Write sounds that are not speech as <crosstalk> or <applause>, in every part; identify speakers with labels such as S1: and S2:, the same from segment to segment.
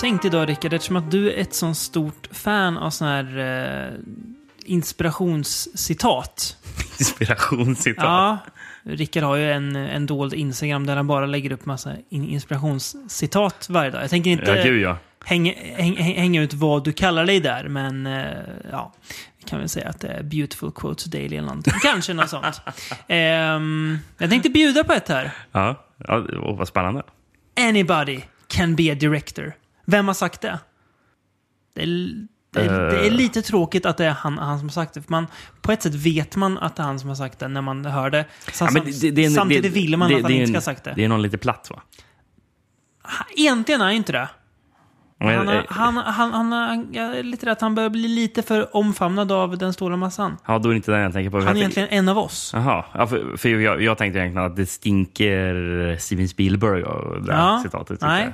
S1: tänkt idag Rickard, eftersom att du är ett sånt stort fan av sån här eh, inspirationscitat.
S2: Inspirationscitat.
S1: Ja, Rickard har ju en, en dold Instagram där han bara lägger upp massa in- inspirationscitat varje dag. Jag tänker inte
S2: Ja, gud ja.
S1: häng, häng, häng, hänga ut vad du kallar dig där, men eh, ja, vi kan väl säga att det är beautiful quotes daily eller någonting. Kanske något
S2: <laughs>
S1: sånt. Ehm, jag tänkte bjuda på ett här.
S2: ja. ja åh, vad spännande.
S1: Alltså, Anybody can be a director. Vem har sagt det? Det är, det är,
S2: Eh.
S1: det är lite tråkigt att det är han, han som har sagt det. För man, på ett sätt vet man att det är han som har sagt det när man hör det. Sam,
S2: Ja, men det- det är en-
S1: samtidigt
S2: det-
S1: vill man
S2: det-
S1: att han
S2: det är
S1: inte ska
S2: en-
S1: ha sagt det.
S2: Det är någon lite platt va?
S1: Egentligen är han ju inte det.
S2: Men,
S1: Han,
S2: eh,
S1: har- han, han, han, han, jag är lite rädd att han börjar bli lite för omfamnad av den stora massan.
S2: Ja, då är det inte den jag tänker på.
S1: Han är
S2: Jag-
S1: egentligen en av oss.
S2: Jaha, ja, för, för jag, jag tänkte egentligen att det stinker Steven Spielberg och det
S1: Ja,
S2: här citatet. tycker
S1: nej.
S2: jag.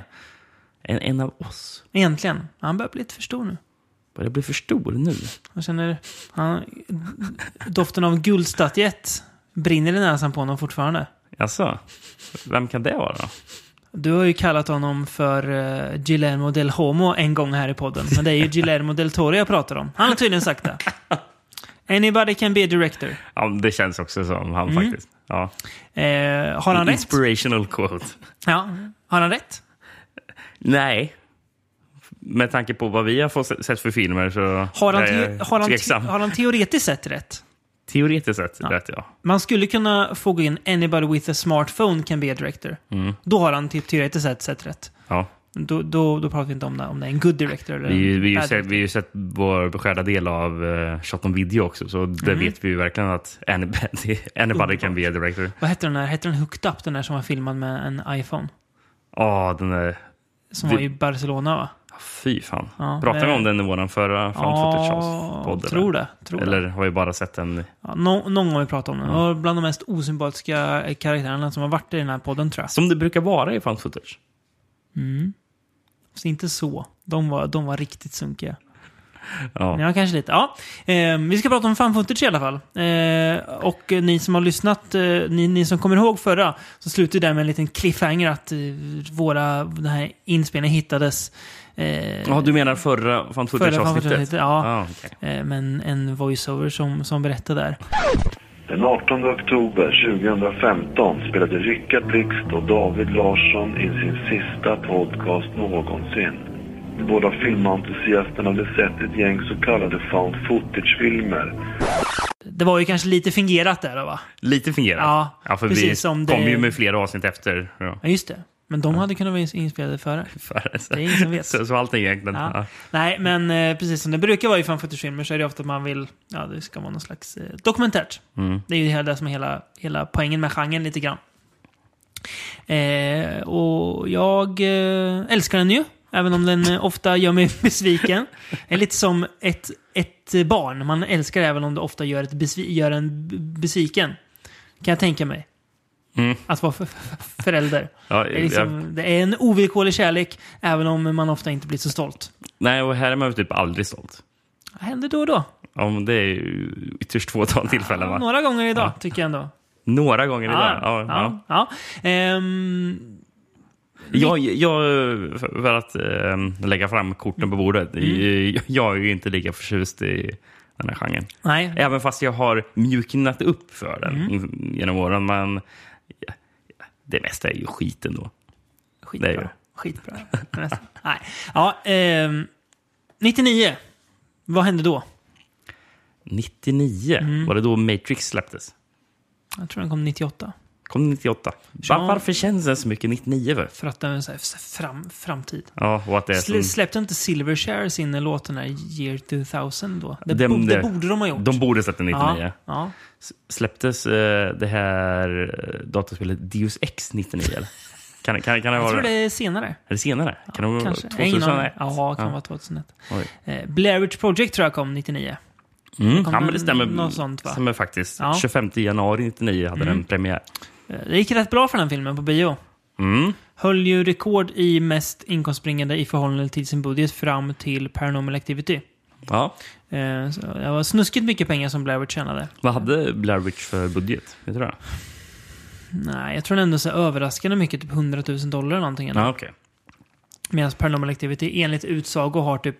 S2: En, en av oss.
S1: Egentligen. Han börjar bli lite för stor nu.
S2: Börjar bli för stor nu.
S1: Han känner han, doften av en guldstatyett brinner i näsan på honom fortfarande.
S2: Alltså, vem kan det vara då?
S1: Du har ju kallat honom för eh, Guillermo del Homo en gång här i podden. Men det
S2: <laughs>
S1: är ju Guillermo del Toro jag pratar om. Han har tydligen sagt det. Anybody can be a director.
S2: Ja, det känns också som han faktiskt. Ja.
S1: Eh, Mm. har han rätt?
S2: Inspirational quote.
S1: Ja. Har han rätt?
S2: Nej. Med tanke på vad vi har fått se- sett för filmer så
S1: Har han,
S2: är
S1: te-
S2: jag
S1: har han, te-
S2: tveksam.
S1: har han teoretiskt sett rätt?
S2: Teoretiskt sett rätt, ja.
S1: Man skulle kunna få gå in “Anybody with a smartphone can be a director”.
S2: Mm.
S1: Då har han typ teoretiskt sett, sett rätt.
S2: ja.
S1: Då, då, då pratar vi inte om det, om det är en good director eller
S2: Vi, vi,
S1: en
S2: vi,
S1: bad
S2: har ju
S1: director.
S2: vi har ju sett vår beskärda del av uh, Shot on Video också, så där
S1: Mhm.
S2: vet vi ju verkligen att <laughs> anybody, anybody can be a director.
S1: Vad hette den där? Hette den Hooked Up? Den där som var filmad med en iPhone?
S2: Ja, den där...
S1: Som
S2: Det-
S1: var i Barcelona va?
S2: Fy fan.
S1: Ja, eh,
S2: Pratade vi
S1: men-
S2: om den i vår förra fan footage-podden?
S1: tror det. Tror det.
S2: Eller har vi bara sett den?
S1: Ja, nå- någon gång har vi pratat om den. Det var bland de mest osympatiska eh, karaktärerna som har varit i den här podden tror jag. Mm.
S2: Som det brukar vara i fan footage.
S1: Så inte så. De var, de var riktigt sunkiga.
S2: Ja.
S1: Ja, kanske lite. Ja. Eh, vi ska prata om fan footage i alla fall. Eh, och eh, ni som har lyssnat, eh, ni, ni som kommer ihåg förra, så slutar det där med en liten cliffhanger att eh, våra den här inspelningen hittades. Eh,
S2: Ja, du menar förra fan footage-avsnittet?
S1: footage-avsnittet, ja.
S2: Ah, okej.
S1: eh, men en voiceover som, som berättade där.
S3: Den 18 oktober 2015 spelade Rickard Blixt och David Larsson in sin sista podcast någonsin. De båda filmentusiasterna hade sett ett gäng så kallade found footage-filmer
S1: Det var ju kanske lite fingerat där då, va?
S2: Lite fungerar.
S1: Ja,
S2: för vi
S1: precis som det-
S2: kom ju med flera avsnitt efter. Ja.
S1: Ja, just det. Men de hade kunnat vara ins- inspelade före.
S2: För, så,
S1: Det är ingen som vet.
S2: så, så allting egentligen.
S1: Ja.
S2: Ja.
S1: <laughs> Nej, men eh, precis som det brukar vara i fanfotogsfilmer så är det ofta att man vill, ja det ska vara någon slags eh, dokumentärt.
S2: Mm.
S1: Det är ju det här- det som är hela, hela poängen med genren lite grann. Eh, och jag eh, älskar den ju, även om den eh, ofta gör mig <laughs> besviken. Det är lite som ett, ett barn, man älskar det även om det ofta gör, ett besvi- gör en b- besviken. Kan jag tänka mig.
S2: Mm.
S1: Att vara f- f- förälder.
S2: Ja,
S1: Det är, liksom, det är en ovillkorlig kärlek, även om man ofta inte blir så stolt.
S2: Nej, och här är man ju typ aldrig stolt.
S1: Det händer då och då.
S2: Om det är ju ytterst få tillfällen. Va?
S1: Några gånger idag, tycker jag ändå.
S2: Några gånger idag.
S1: ja, ja. ja. Ehm,
S2: Jag, jag, för för att eh, lägga fram korten på bordet.
S1: Mm.
S2: eh, Jag, jag är ju inte lika förtjust i den här genren.
S1: nej.
S2: Även fast jag har mjuknat upp för den
S1: Mm.
S2: in- genom åren. Men ja, det mesta är ju skit ändå.
S1: Skitbra.
S2: det är ju-
S1: Skitbra. Nästan. nej. Ja, ehm, 99. Vad hände då?
S2: 99,
S1: Mm.
S2: var det då Matrix släpptes?
S1: Jag tror den kom 98.
S2: Kom 98.
S1: Ja.
S2: Va, varför känns den så mycket 99? För?
S1: För att den är så här, fram, framtid.
S2: Ja, och att det är
S1: Sl-
S2: som,
S1: släppte inte Silverchair sin låt den här Year 2000 då? Det,
S2: Dem
S1: borde, det
S2: där.
S1: borde de ha gjort.
S2: de borde släppt den 99.
S1: ja, ja.
S2: S- Släpptes eh, det här eh, datorspelet Deus Ex 99? Eller? <laughs> Kan, kan, kan det
S1: Jag
S2: vara
S1: tror det är senare.
S2: Är det senare? Kan det vara
S1: Kanske.
S2: 2001?
S1: Ja, kan vara 2001.
S2: Oj.
S1: Eh, Blair Witch Project tror jag kom 99.
S2: Mm.
S1: kom
S2: Ja, men det
S1: en-
S2: stämmer,
S1: något sånt, va?
S2: stämmer faktiskt.
S1: Ja.
S2: 25 januari 99 hade den premiär.
S1: Eh, Det gick rätt bra för den filmen på bio.
S2: Mm.
S1: Höll ju rekord i mest inkomstbringande i förhållande till sin budget fram till Paranormal Activity.
S2: Ja.
S1: Eh, så det var snuskigt mycket pengar som Blair Witch tjänade.
S2: Vad hade Blair Witch för budget? Vet du det?
S1: Nej, jag tror den ändå så här överraskande mycket, typ 100 000 dollar eller någonting.
S2: Ja, okej.
S1: Medan Paranormal Activity enligt utsago har typ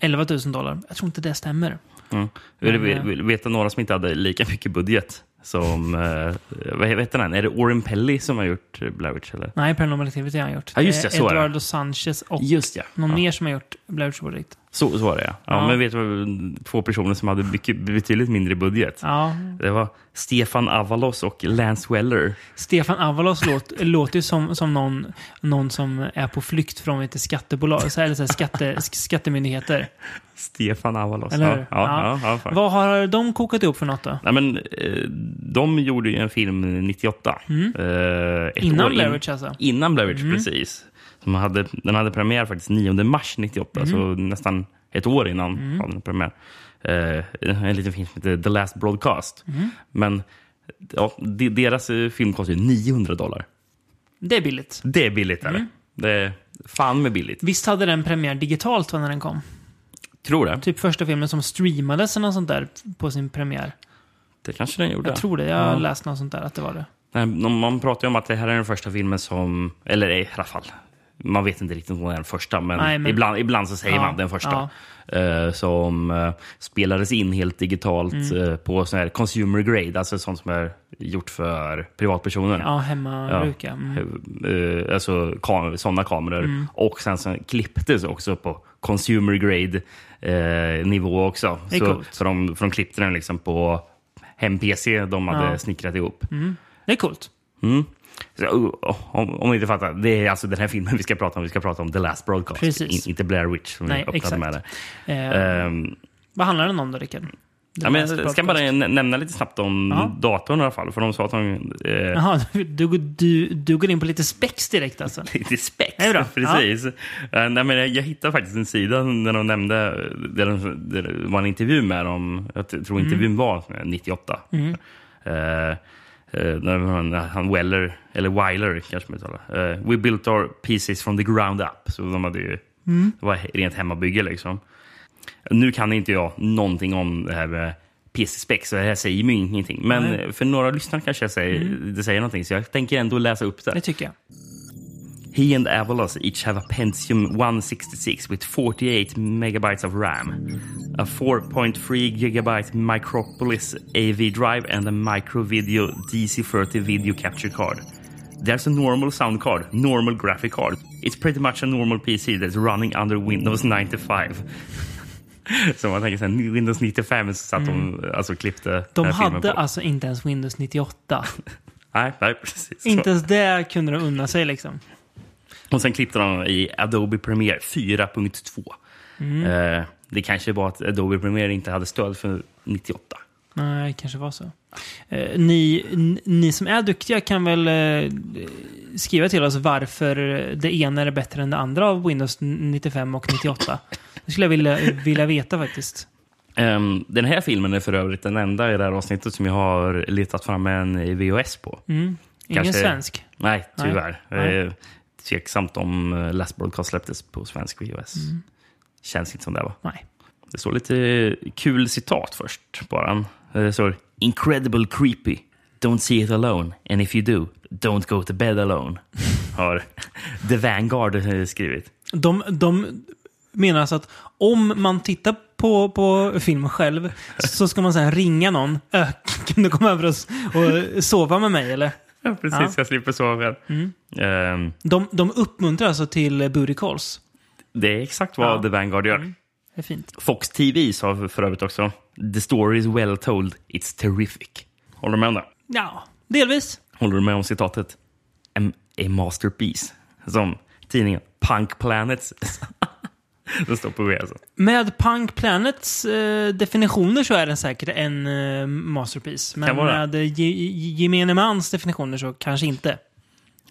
S1: 11 000 dollar. Jag tror inte det stämmer.
S2: Mm.
S1: Men, eh,
S2: Vill, vill, vill veta några som inte hade lika mycket budget som... Eh, vad heter den? Är det Oren Pelly som har gjort eh, Blair Witch? Eller?
S1: Nej, Paranormal Activity har han gjort.
S2: Ja, just det,
S1: Eh,
S2: så är det.
S1: Eduardo Sanchez och
S2: Just ja.
S1: någon
S2: ja.
S1: mer som har gjort Blair Witch Project.
S2: Så, så var det ja. ja,
S1: Ja.
S2: Men vet du vad, två personer som hade mycket, betydligt mindre budget.
S1: Ja.
S2: Det var Stefan Avalos och Lance Weller.
S1: Stefan Avalos låt, <laughs> låter ju som, som någon, någon som är på flykt från vet, du, skattebolag, så här, eller så här, skatte, <laughs> sk- skattemyndigheter.
S2: Stefan Avalos.
S1: Eller
S2: ja,
S1: hur?
S2: ja,
S1: Ja.
S2: ja. ja, fan.
S1: Vad har de kokat ihop för något då?
S2: Nej, men, eh, de gjorde ju en film 98. Eh, ett år
S1: Mm. Innan
S2: in-
S1: Blair Witch alltså?
S2: Innan Blair Witch, precis. Som hade, den hade premiär faktiskt 9 mars 98, så
S1: Mm.
S2: nästan ett år innan hade den premiär. Eh, en liten film som heter The Last Broadcast.
S1: Mm.
S2: Men ja, de, deras eh, film kostade 900 dollar.
S1: Det är billigt.
S2: Det är billigt.
S1: Mm.
S2: Är det? det är fan med billigt.
S1: Visst hade den premiär digitalt va, när den kom?
S2: Tror det.
S1: Typ första filmen som streamades eller något sånt där på sin premiär.
S2: Det kanske den gjorde.
S1: Jag tror det. Jag har
S2: Ja.
S1: läst något sånt där att det var det.
S2: Nej, de- Man pratar ju om att det här är den första filmen som... Eller i alla fall, man vet inte riktigt om det är den första, men,
S1: Nej, men-
S2: Ibland, ibland så säger
S1: Ja,
S2: man den första. eh, som eh, spelades in helt digitalt
S1: Mm.
S2: eh, på sån här consumer grade, alltså sånt som är gjort för privatpersoner.
S1: Ja, hemmabruk ja. Mm.
S2: Eh, Alltså kam sådana kameror. Och sen så klipptes också på consumer grade eh, nivå också.
S1: Det är
S2: Så,
S1: coolt.
S2: så de, för de klippte den liksom på hem-PC de hade
S1: Ja.
S2: snickrat ihop.
S1: Det är coolt.
S2: Mm. Så, oh, om, om ni inte fattar, det är alltså den här filmen vi ska prata om. Vi ska prata om The Last Broadcast,
S1: Precis.
S2: In, inte Blair Witch som
S1: Nej,
S2: vi öppnade
S1: exakt.
S2: med det.
S1: Eh,
S2: Ehm,
S1: vad handlar den om då, Rickard?
S2: ja, men jag ska bara nä- nämna lite snabbt om
S1: Ja.
S2: datorn i alla fall. För de sa att de... Eh,
S1: Jaha, <laughs> du, du, du, du går in på lite spex direkt alltså?
S2: Lite spex.
S1: Det är
S2: <laughs>
S1: bra.
S2: Precis. Eh, nej, men jag, jag hittade faktiskt en sida när de nämnde, där, de, där det var en intervju med dem. Jag t- tror
S1: Mm.
S2: intervjun var 98. Eh, eh, när han, han Weller, eller Weiler kanske man uttalar. Eh, We built our pieces from the ground up. Så de hade ju,
S1: Mm.
S2: Det var rent hemmabygge liksom. Nu kan inte jag någonting om det här med PC-spec, så det här säger mig ingenting. Men
S1: Nej. Mm.
S2: för några lyssnare kanske jag säger, det säger någonting, så jag tänker ändå läsa upp det.
S1: Det tycker jag.
S2: He and Avalos each have a Pentium 166 with 48 megabytes of RAM, a 4.3 gigabyte Micropolis AV drive, and a micro video DC30 video capture card. There's a normal sound card, normal graphic card. It's pretty much a normal PC that's running under Windows <laughs> 95. så man tänker sen Windows 95 så satt de alltså klippte
S1: Mm. De
S2: den här filmen
S1: hade
S2: på.
S1: alltså inte ens Windows
S2: <laughs>
S1: 98.
S2: Nej, nej, precis.
S1: inte ens det kunde de unna sig liksom.
S2: Och sen klippte de i Adobe Premiere 4.2. Eh, det kanske var att Adobe Premiere inte hade stöd för 98.
S1: Nej, det kanske var så. Eh, ni, n- ni som är duktiga kan väl eh, skriva till oss varför det ena är bättre än det andra av Windows 95 och 98. Det skulle jag vilja, vilja veta faktiskt.
S2: Ehm, den här filmen är för övrigt den enda i det här avsnittet som jag har letat fram en VHS på.
S1: Mm. Ingen
S2: Kanske-
S1: svensk.
S2: Nej, tyvärr.
S1: Nej.
S2: Eh, tveksamt om eh, Last Broadcast släpptes på svensk VHS. Känns inte som det, va?
S1: Nej.
S2: Det står lite kul citat först bara. Eh, Det står “Incredible creepy. Don't see it alone. And if you do, don't go to bed <laughs> alone”. Har The Vanguard eh, skrivit.
S1: De, de menar alltså att om man tittar på, på filmen själv så ska man så här ringa någon. Ö, <laughs> Kan du komma över och, s- och sova med mig eller?
S2: Ja, precis.
S1: Ja.
S2: Jag slipper sova. Ehm,
S1: De, de uppmuntrar alltså till booty calls.
S2: det är exakt vad
S1: Ja.
S2: The Vanguard gör.
S1: Det är fint.
S2: Fox TV sa för övrigt också “The story is well told. It's terrific”. Håller du med om det?
S1: Ja, delvis.
S2: Håller du med om citatet? A, a masterpiece. Som tidningen Punk Planets. <laughs> det står på V alltså.
S1: Med Punk Planets eh, definitioner så är den säkert en eh, masterpiece. Men
S2: Kan vara.
S1: med eh, ge- ge- gemene mans definitioner så kanske inte.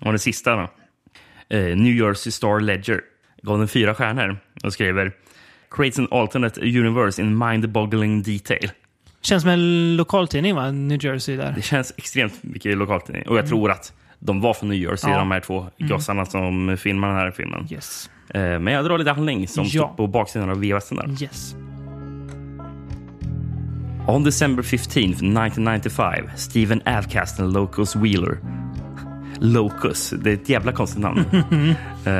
S2: Och det sista då. Eh, New Jersey Star Ledger gav den fyra stjärnor och skriver “Creates an alternate universe in mind-boggling detail”.
S1: Känns som en lokaltidning va? New Jersey där.
S2: Det känns extremt mycket lokalt. Och jag tror att de var från New
S1: Mm.
S2: Jersey,
S1: Ja. Mm.
S2: de här två gossarna som filmar den här filmen.
S1: Yes.
S2: Eh, men jag drar lite handling som
S1: Ja. Mm.
S2: stod på baksidan av VHSen där.
S1: Yes. <laughs>
S2: On December 15th, 1995, Stephen Avcast and Locos Wheeler Locus. Det är ett jävla konstigt
S1: <laughs>
S2: namn. Eh,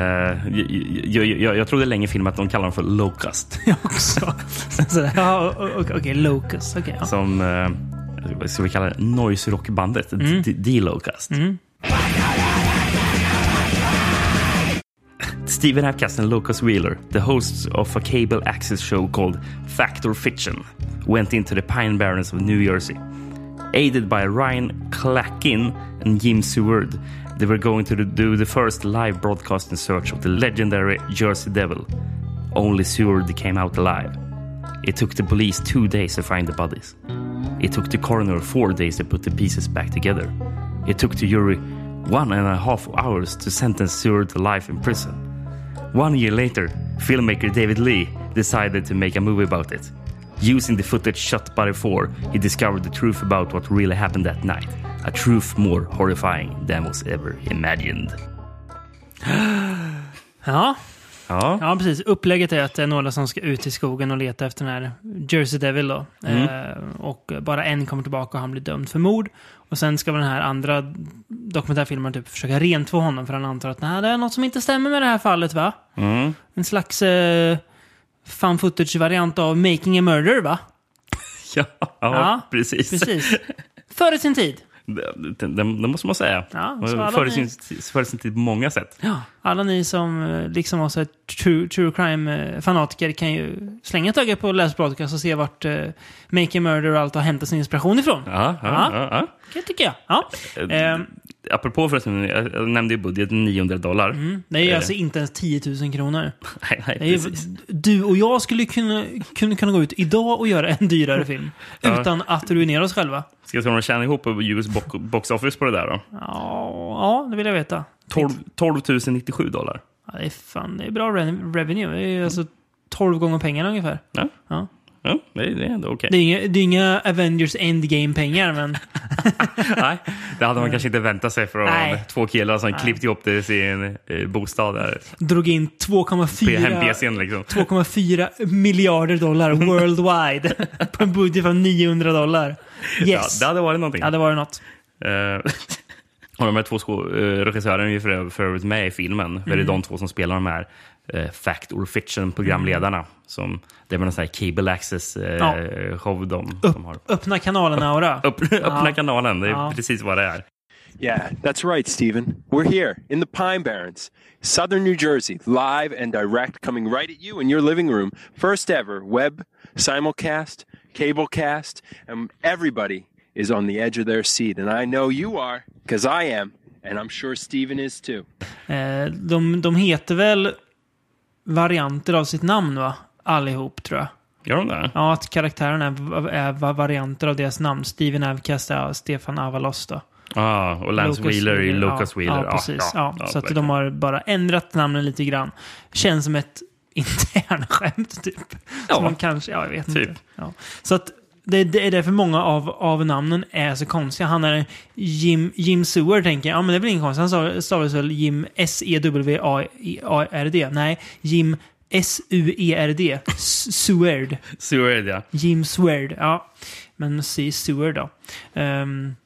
S2: jag, jag, jag trodde länge i filmen att de kallar dem för Locust.
S1: Jag också. Sen sådär, ja, o- o- okej, Locus. Okej, ja.
S2: Som, eh, vad ska vi kalla det? Noise rockbandet. Mm. D-Locust. Steven Apcast and Lucas Wheeler, the hosts of a cable access show called Fact or Fiction, went into the Pine Barrens of New Jersey. Aided by Ryan Clackin and Jim Seward, they were going to do the first live broadcast in search of the legendary Jersey Devil. Only Seward came out alive. It took the police two days to find the bodies. It took the coroner four days to put the pieces back together. It took the jury one and a half hours to sentence Seward to life in prison. One year later, filmmaker David Lee decided to make a movie about it. Using the footage shot by the four, he discovered the truth about what really happened that night. A truth more horrifying than was ever imagined.
S1: ja.
S2: Ja,
S1: Ja, precis. Upplägget är att det är några som ska ut i skogen och leta efter den här Jersey Devil. Då. Eh, och bara en kommer tillbaka och han blir dömd för mord. Och sen ska den här andra dokumentärfilmaren typ försöka rentvå honom för han antar att "Nej, det är något som inte stämmer med det här fallet va?
S2: mm.
S1: En slags eh, fan footage-variant av Making a Murder va?
S2: <laughs> ja,
S1: Ja,
S2: precis.
S1: Precis. Före sin tid.
S2: Det, det, det måste man säga.
S1: Ja, så alla
S2: Före
S1: ni-
S2: sin, före sin tid på många sätt.
S1: Ja, alla ni som eh, liksom var så här true, true crime-fanatiker kan ju slänga ett öga på Last Broadcast och se vart eh, Make a Murder och allt har hämtat sin inspiration ifrån.
S2: Ja, ja,
S1: Ja.
S2: ja, ja.
S1: Det tycker jag. Ja.
S2: Eh,
S1: Ehm,
S2: Apropå förresten, jag jag nämnde ju budgeten 900 dollar.
S1: det är ju
S2: Eh,
S1: alltså inte ens 10 000 kronor.
S2: <laughs> nej, nej,
S1: Det är ju,
S2: precis.
S1: du och jag skulle kunna, kunna, kunna gå ut idag och göra en
S2: <laughs>
S1: dyrare film.
S2: Ja.
S1: Utan att ruinera oss själva.
S2: Ska vi se om de tjänar ihop US box- box office på det där då?
S1: Ja, ja, det vill jag veta.
S2: 12, 12 097 dollar.
S1: Ja, det är fan, det är bra re- revenue. Det är ju alltså 12 gånger pengarna ungefär.
S2: Ja.
S1: Ja.
S2: Ja, det, det är ändå okej.
S1: Det är inga, det är inga Avengers Endgame-pengar, men
S2: Nej, det hade man kanske inte väntat sig från
S1: Nej.
S2: två killar som klippt ihop det i sin eh, bostad. Där.
S1: drog in
S2: Hem
S1: 2,4
S2: PCn liksom.
S1: 2,4 miljarder dollar worldwide <laughs> på en budget av 900 dollar. Yes.
S2: Ja, det hade varit någonting.
S1: Ja, det var det något.
S2: Eh, <laughs> och de här två sko- eh, regissörerna är ju för, för övrigt med i filmen. För
S1: Mm.
S2: Det är de två som spelar de här eh, Fact or
S1: Mm.
S2: Fiction-programledarna. Som, det är väl en sån här cable access-show de, de har.
S1: Öppna kanalen-aura.
S2: Upp, <laughs> öppna kanalen, det är
S1: Ja.
S2: precis vad det är.
S4: Yeah, that's right, Stephen. We're here in the Pine Barrens, southern New Jersey, live and direct, coming right at you in your living room. First ever web simulcast, cablecast, and everybody is on the edge of their seat. And I know you are, because I am, and I'm sure Stephen is too.
S1: Eh, de, de heter väl varianter av sitt namn, va? Allihop, tror jag.
S2: Gör de det?
S1: Ja, att karaktärerna är, är va- varianter av deras namn. Steven Avkast är Stefan Avalos då.
S2: Ja, Ah, och Lance
S1: Lucas
S2: Wheeler i Lucas
S1: ja,
S2: Wheeler.
S1: Ja, precis. Ja, så att
S2: verkligen.
S1: de har bara ändrat namnen lite grann. Känns som ett <laughs> internskämt, typ.
S2: Ja.
S1: Som man kanske, ja, jag vet
S2: Typ.
S1: inte. Ja. Så att det, det är därför många av, av namnen är så konstiga. Han är Jim, Jim Seward, tänker jag. Ja, men det är väl inget konstigt. Han stav- stavades väl Jim E S-E-W-A-R-D? E Nej, Jim S-U-E-R-D. S- Seward.
S2: Seward, ja.
S1: Jim Seward. Ja. Men säg Seward då. Ehm,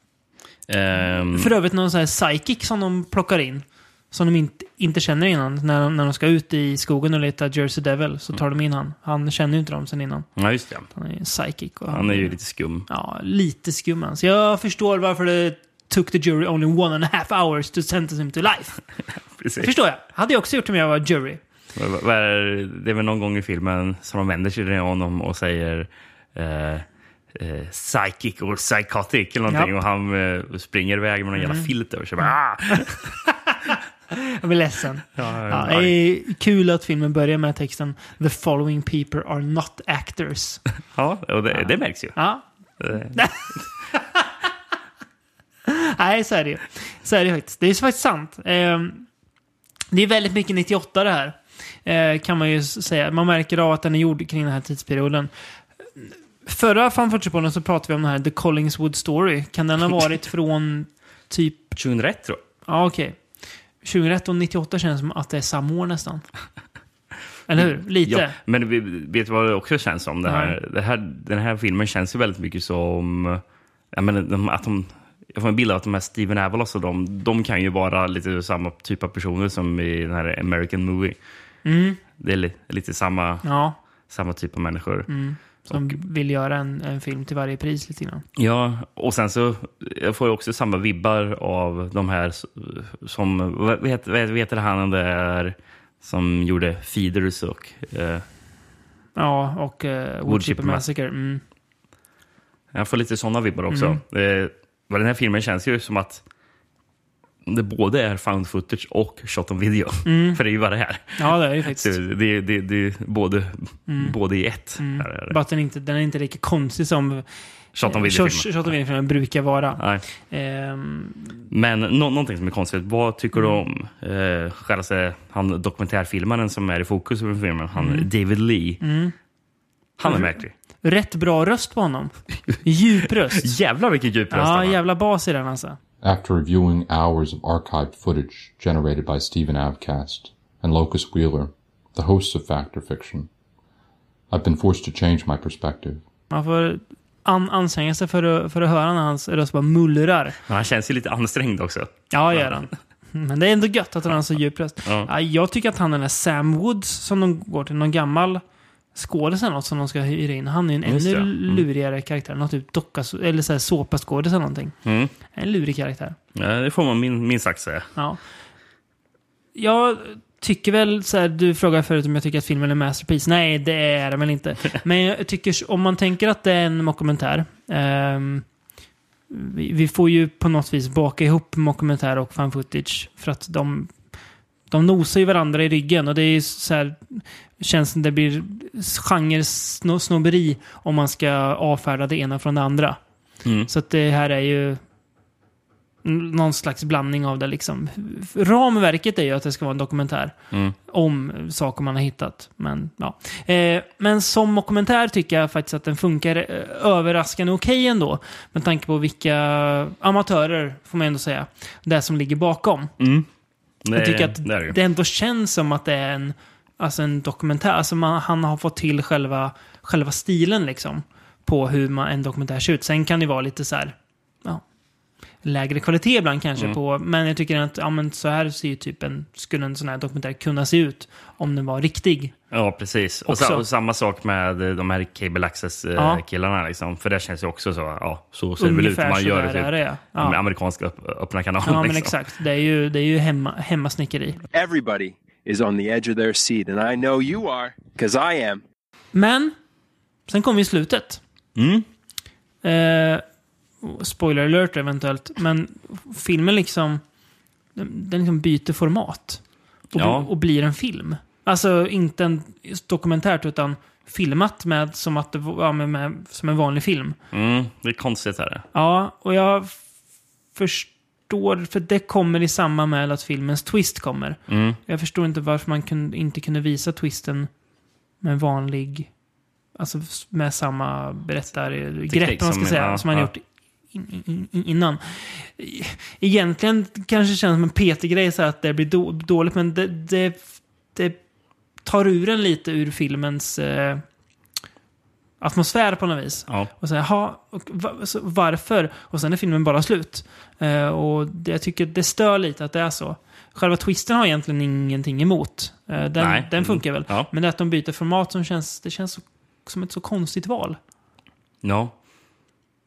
S2: Ehm,
S1: för övrigt någon sån här psychic som de plockar in. Som de inte, inte känner innan. När, när de ska ut i skogen och leta Jersey Devil så tar
S2: Mm.
S1: de in han. Han känner ju inte dem sen innan.
S2: ja, just det.
S1: Han är ju en psychic. Och
S2: Han är ju lite skum.
S1: Ja, lite skum han. Så jag förstår varför det took the jury only one and a half hours to sentence him to
S2: <laughs>
S1: life.
S2: Precis.
S1: Det förstår jag. Hade jag också gjort om jag var jury.
S2: Vad- vad- vad är det- Det är väl någon gång i filmen som de vänder sig till honom och säger eh, eh, psychic or psychotic eller någonting.
S1: Ja.
S2: Och han eh, springer iväg med någon jävla filt över sig. Bara, ah!
S1: Jag blir ledsen.
S2: <laughs> Ja,
S1: Ja,
S2: ja,
S1: det är kul att filmen börjar med texten “The following people are not actors”.
S2: ja, och det, det märks ju.
S1: Ja,
S2: Eh,
S1: <laughs> Nej, så är det ju. Så är det ju faktiskt. Det är ju faktiskt sant. Ehm, det är väldigt mycket 98 det här. Eh, kan man ju s- säga. Man märker av att den är gjord kring den här tidsperioden. Förra Fan Fortune-podden så pratade vi om den här The Collingswood Story. Kan den ha varit
S2: <laughs>
S1: från typ,
S2: 2001 tror jag.
S1: ja okej. 2001 och 98 känns som att det är samma år nästan. Eller hur? Lite.
S2: Ja, men vi- vet du vad det också känns som? Det här, det här, den här filmen känns ju väldigt mycket som... Jag menar, de, att de jag får en bild av att de här Steven Avalos och de, de kan ju vara lite samma typ av personer som i den här American Movie. Det är li, lite samma,
S1: Ja,
S2: samma typ av människor.
S1: som vill göra en, en film till varje pris lite grann.
S2: Ja, och sen så jag får jag också samma vibbar av de här s- som... Vad vad heter, vad heter han där som gjorde Feeders och... Eh,
S1: Ja, och uh,
S2: Woodchipper
S1: Woodchipper Massacre. Mm.
S2: jag får lite såna vibbar också. Eh, men den här filmen känns ju som att det både är found footage och shot on video. <laughs> För det är ju bara det här.
S1: Mm. Ja, det är det
S2: Så
S1: faktiskt.
S2: det, det, det är både, både i ett. Här är det.
S1: Mm. Bara att den, inte, den är inte lika konstig som eh,
S2: Shot on video
S1: Shot- Shot on video-filmen brukar vara.
S2: Nej.
S1: Ehm,
S2: Men nå- någonting som är konstigt. Vad tycker du om eh, självaste han dokumentärfilmaren som är i fokus i filmen? Han
S1: Mm.
S2: David Lee. Han är märklig.
S1: rätt bra röst på honom. <laughs> Djup röst.
S2: Jävlar vilken djup röst
S1: Ja,
S2: han har.
S1: jävla bas i den alltså.
S5: After reviewing hours of archived footage generated by Stephen Avcast and Locus Wheeler, the hosts of Fact or Fiction, I've been forced to change my perspective.
S1: Man får an, anstränga sig för att, för att höra när hans röst bara mullrar.
S2: Men Han känns ju lite ansträngd också.
S1: Ja, gör han. Men det är ändå gött att han har så djup röst.
S2: Ja.
S1: Ja, jag tycker att han den där Sam Woods som de går till, någon gammal skådis eller något som de ska hyra in. Han är ju en
S2: Just
S1: ännu
S2: det, ja. Mm.
S1: lurigare karaktär. Någon typ docka, eller så här såpaskådis eller någonting.
S2: Mm.
S1: En lurig karaktär.
S2: Ja, det får man min, minst sagt säga.
S1: Ja. Jag tycker väl så här, du frågade förut om jag tycker att filmen är en masterpiece. Nej, det är den väl inte. Men jag tycker, om man tänker att det är en mockumentär. ehm, vi, vi får ju på något vis baka ihop mockumentär och fan footage. För att de, de nosar ju varandra i ryggen. Och det är ju så här, känns som det blir genre-snobberi om man ska avfärda det ena från det andra.
S2: Mm.
S1: Så att det här är ju någon slags blandning av det liksom. Ramverket är ju att det ska vara en dokumentär
S2: Mm.
S1: om saker man har hittat. Men, ja. eh, men som dokumentär tycker jag faktiskt att den funkar eh, överraskande okej ändå. Med tanke på vilka amatörer, får man ändå säga, det är som ligger bakom.
S2: Mm. Det,
S1: Jag tycker att
S2: det är det ju.
S1: det ändå känns som att det är en, alltså en dokumentär. Alltså man, han har fått till själva, själva stilen liksom. På hur man, en dokumentär ser ut. Sen kan det vara lite så här, ja, lägre kvalitet ibland kanske.
S2: Mm.
S1: På, men jag tycker att ja, men så här ser ju typ en, skulle en sån här dokumentär kunna se ut. Om den var riktig.
S2: Ja, precis. Och,
S1: Också.
S2: sa, och samma sak med eh, de här Cable
S1: Ja.
S2: Access-killarna. Liksom. För det känns ju också så. Ja, så ser det väl ut.
S1: Ungefär
S2: Man
S1: så
S2: gör
S1: där
S2: typ
S1: är det. Ja,
S2: med
S1: ja
S2: amerikanska öpp- öppna kanalen.
S1: men
S2: liksom.
S1: exakt. Det är ju, det är ju hemma, hemmasnickeri.
S4: Everybody is on the edge of their seat, and I know you are, because I am.
S1: Men, sen kommer ju slutet.
S2: Mm.
S1: Eh, spoiler alert eventuellt, men filmen liksom... Den den liksom byter format. Och,
S2: Ja.
S1: och blir en film. Alltså inte en dokumentärt, utan filmat med som, att det, var- ja, med, med, som en vanlig film.
S2: Mm. Det är konstigt. Här.
S1: Ja, och jag f- förstår, för det kommer i samband med att filmens twist kommer.
S2: Mm.
S1: Jag förstår inte varför man kun, inte kunde visa twisten med en vanlig... Alltså s- med samma berättargrepp, om man
S2: som-
S1: ska säga,
S2: ja,
S1: som man
S2: ja.
S1: gjort in, in, in, innan. E- Egentligen kanske det känns som en PT-grej, så här att det blir då, dåligt, men det, det, det tar ur en lite ur filmens eh, atmosfär på något vis.
S2: Ja.
S1: Och sen, jaha, och va, så, varför? Och sen är filmen bara slut. Eh, och det, jag tycker det stör lite att det är så. Själva twisten har jag egentligen ingenting emot. Eh, den,
S2: Nej. Mm.
S1: den funkar väl.
S2: Ja.
S1: Men det att de byter format som känns, det känns så, som ett så konstigt val.
S2: Ja.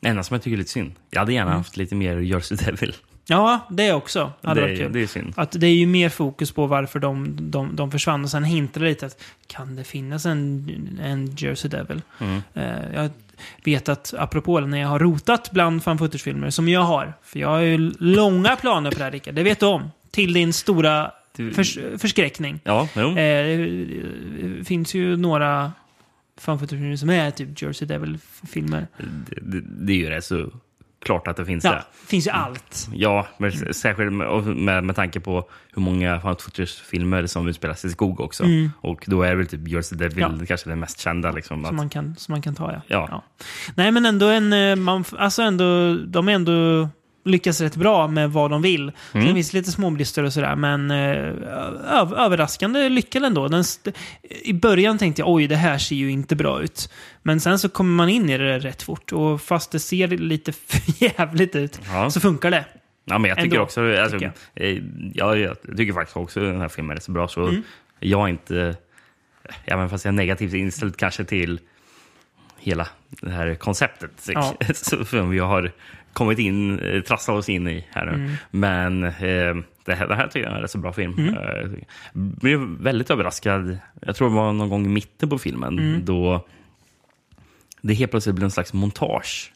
S2: Det enda som jag tycker är lite synd. Jag hade gärna haft lite mer Jersey Devil.
S1: Mm. Ja, det också. Hade varit
S2: det,
S1: kul.
S2: det är synd.
S1: Att det är ju mer fokus på varför de, de, de försvann och sen hintar det lite att kan det finnas en, en Jersey Devil?
S2: Mm.
S1: Eh, jag vet att, apropå det, när jag har rotat bland fan footage-filmer, som jag har, för jag har ju långa planer på det här Rickard, det vet du om. Till din stora
S2: Du-
S1: förs förskräckning.
S2: Ja, jo.
S1: Eh, det finns ju några fan footage-filmer som är typ Jersey Devil-filmer.
S2: Det, det, det är ju det. Så klart att det Mm. finns
S1: Ja,
S2: det.
S1: det finns ju allt.
S2: Ja, men s- särskilt med, och med, med tanke på hur många found footage-filmer som utspelas i skog också. Och då är väl typ Jersey Devil
S1: Mm. Ja.
S2: kanske den mest kända. Liksom, att,
S1: Som man kan, som man kan ta, ja.
S2: Ja.
S1: Nej, men ändå en... eh, Man, f- alltså ändå, de är ändå lyckas rätt bra med vad de vill. Mm. Sen finns det lite småbrister och sådär, men eh, ö- överraskande lyckad ändå. Den st- I början tänkte jag oj, det här ser ju inte bra ut. Men sen så kommer man in i det rätt fort och fast det ser lite <laughs> för jävligt ut
S2: Ja.
S1: så funkar det.
S2: Ja, men jag tycker
S1: Ändå,
S2: också... Alltså,
S1: tycker
S2: eh, ja, jag tycker faktiskt också den här filmen är så bra. Så
S1: Mm.
S2: Jag är inte... Ja, men fast jag är negativt inställd kanske till hela det här konceptet
S1: Ja.
S2: <laughs> så, som vi har kommit in, eh, trasslat oss in i här nu.
S1: Mm.
S2: Men eh, det, här, det här tycker jag är en rätt så bra film.
S1: Mm.
S2: Eh, blev väldigt överraskad. Jag tror det var någon gång i mitten på filmen
S1: Mm.
S2: då det helt plötsligt blir en slags montage.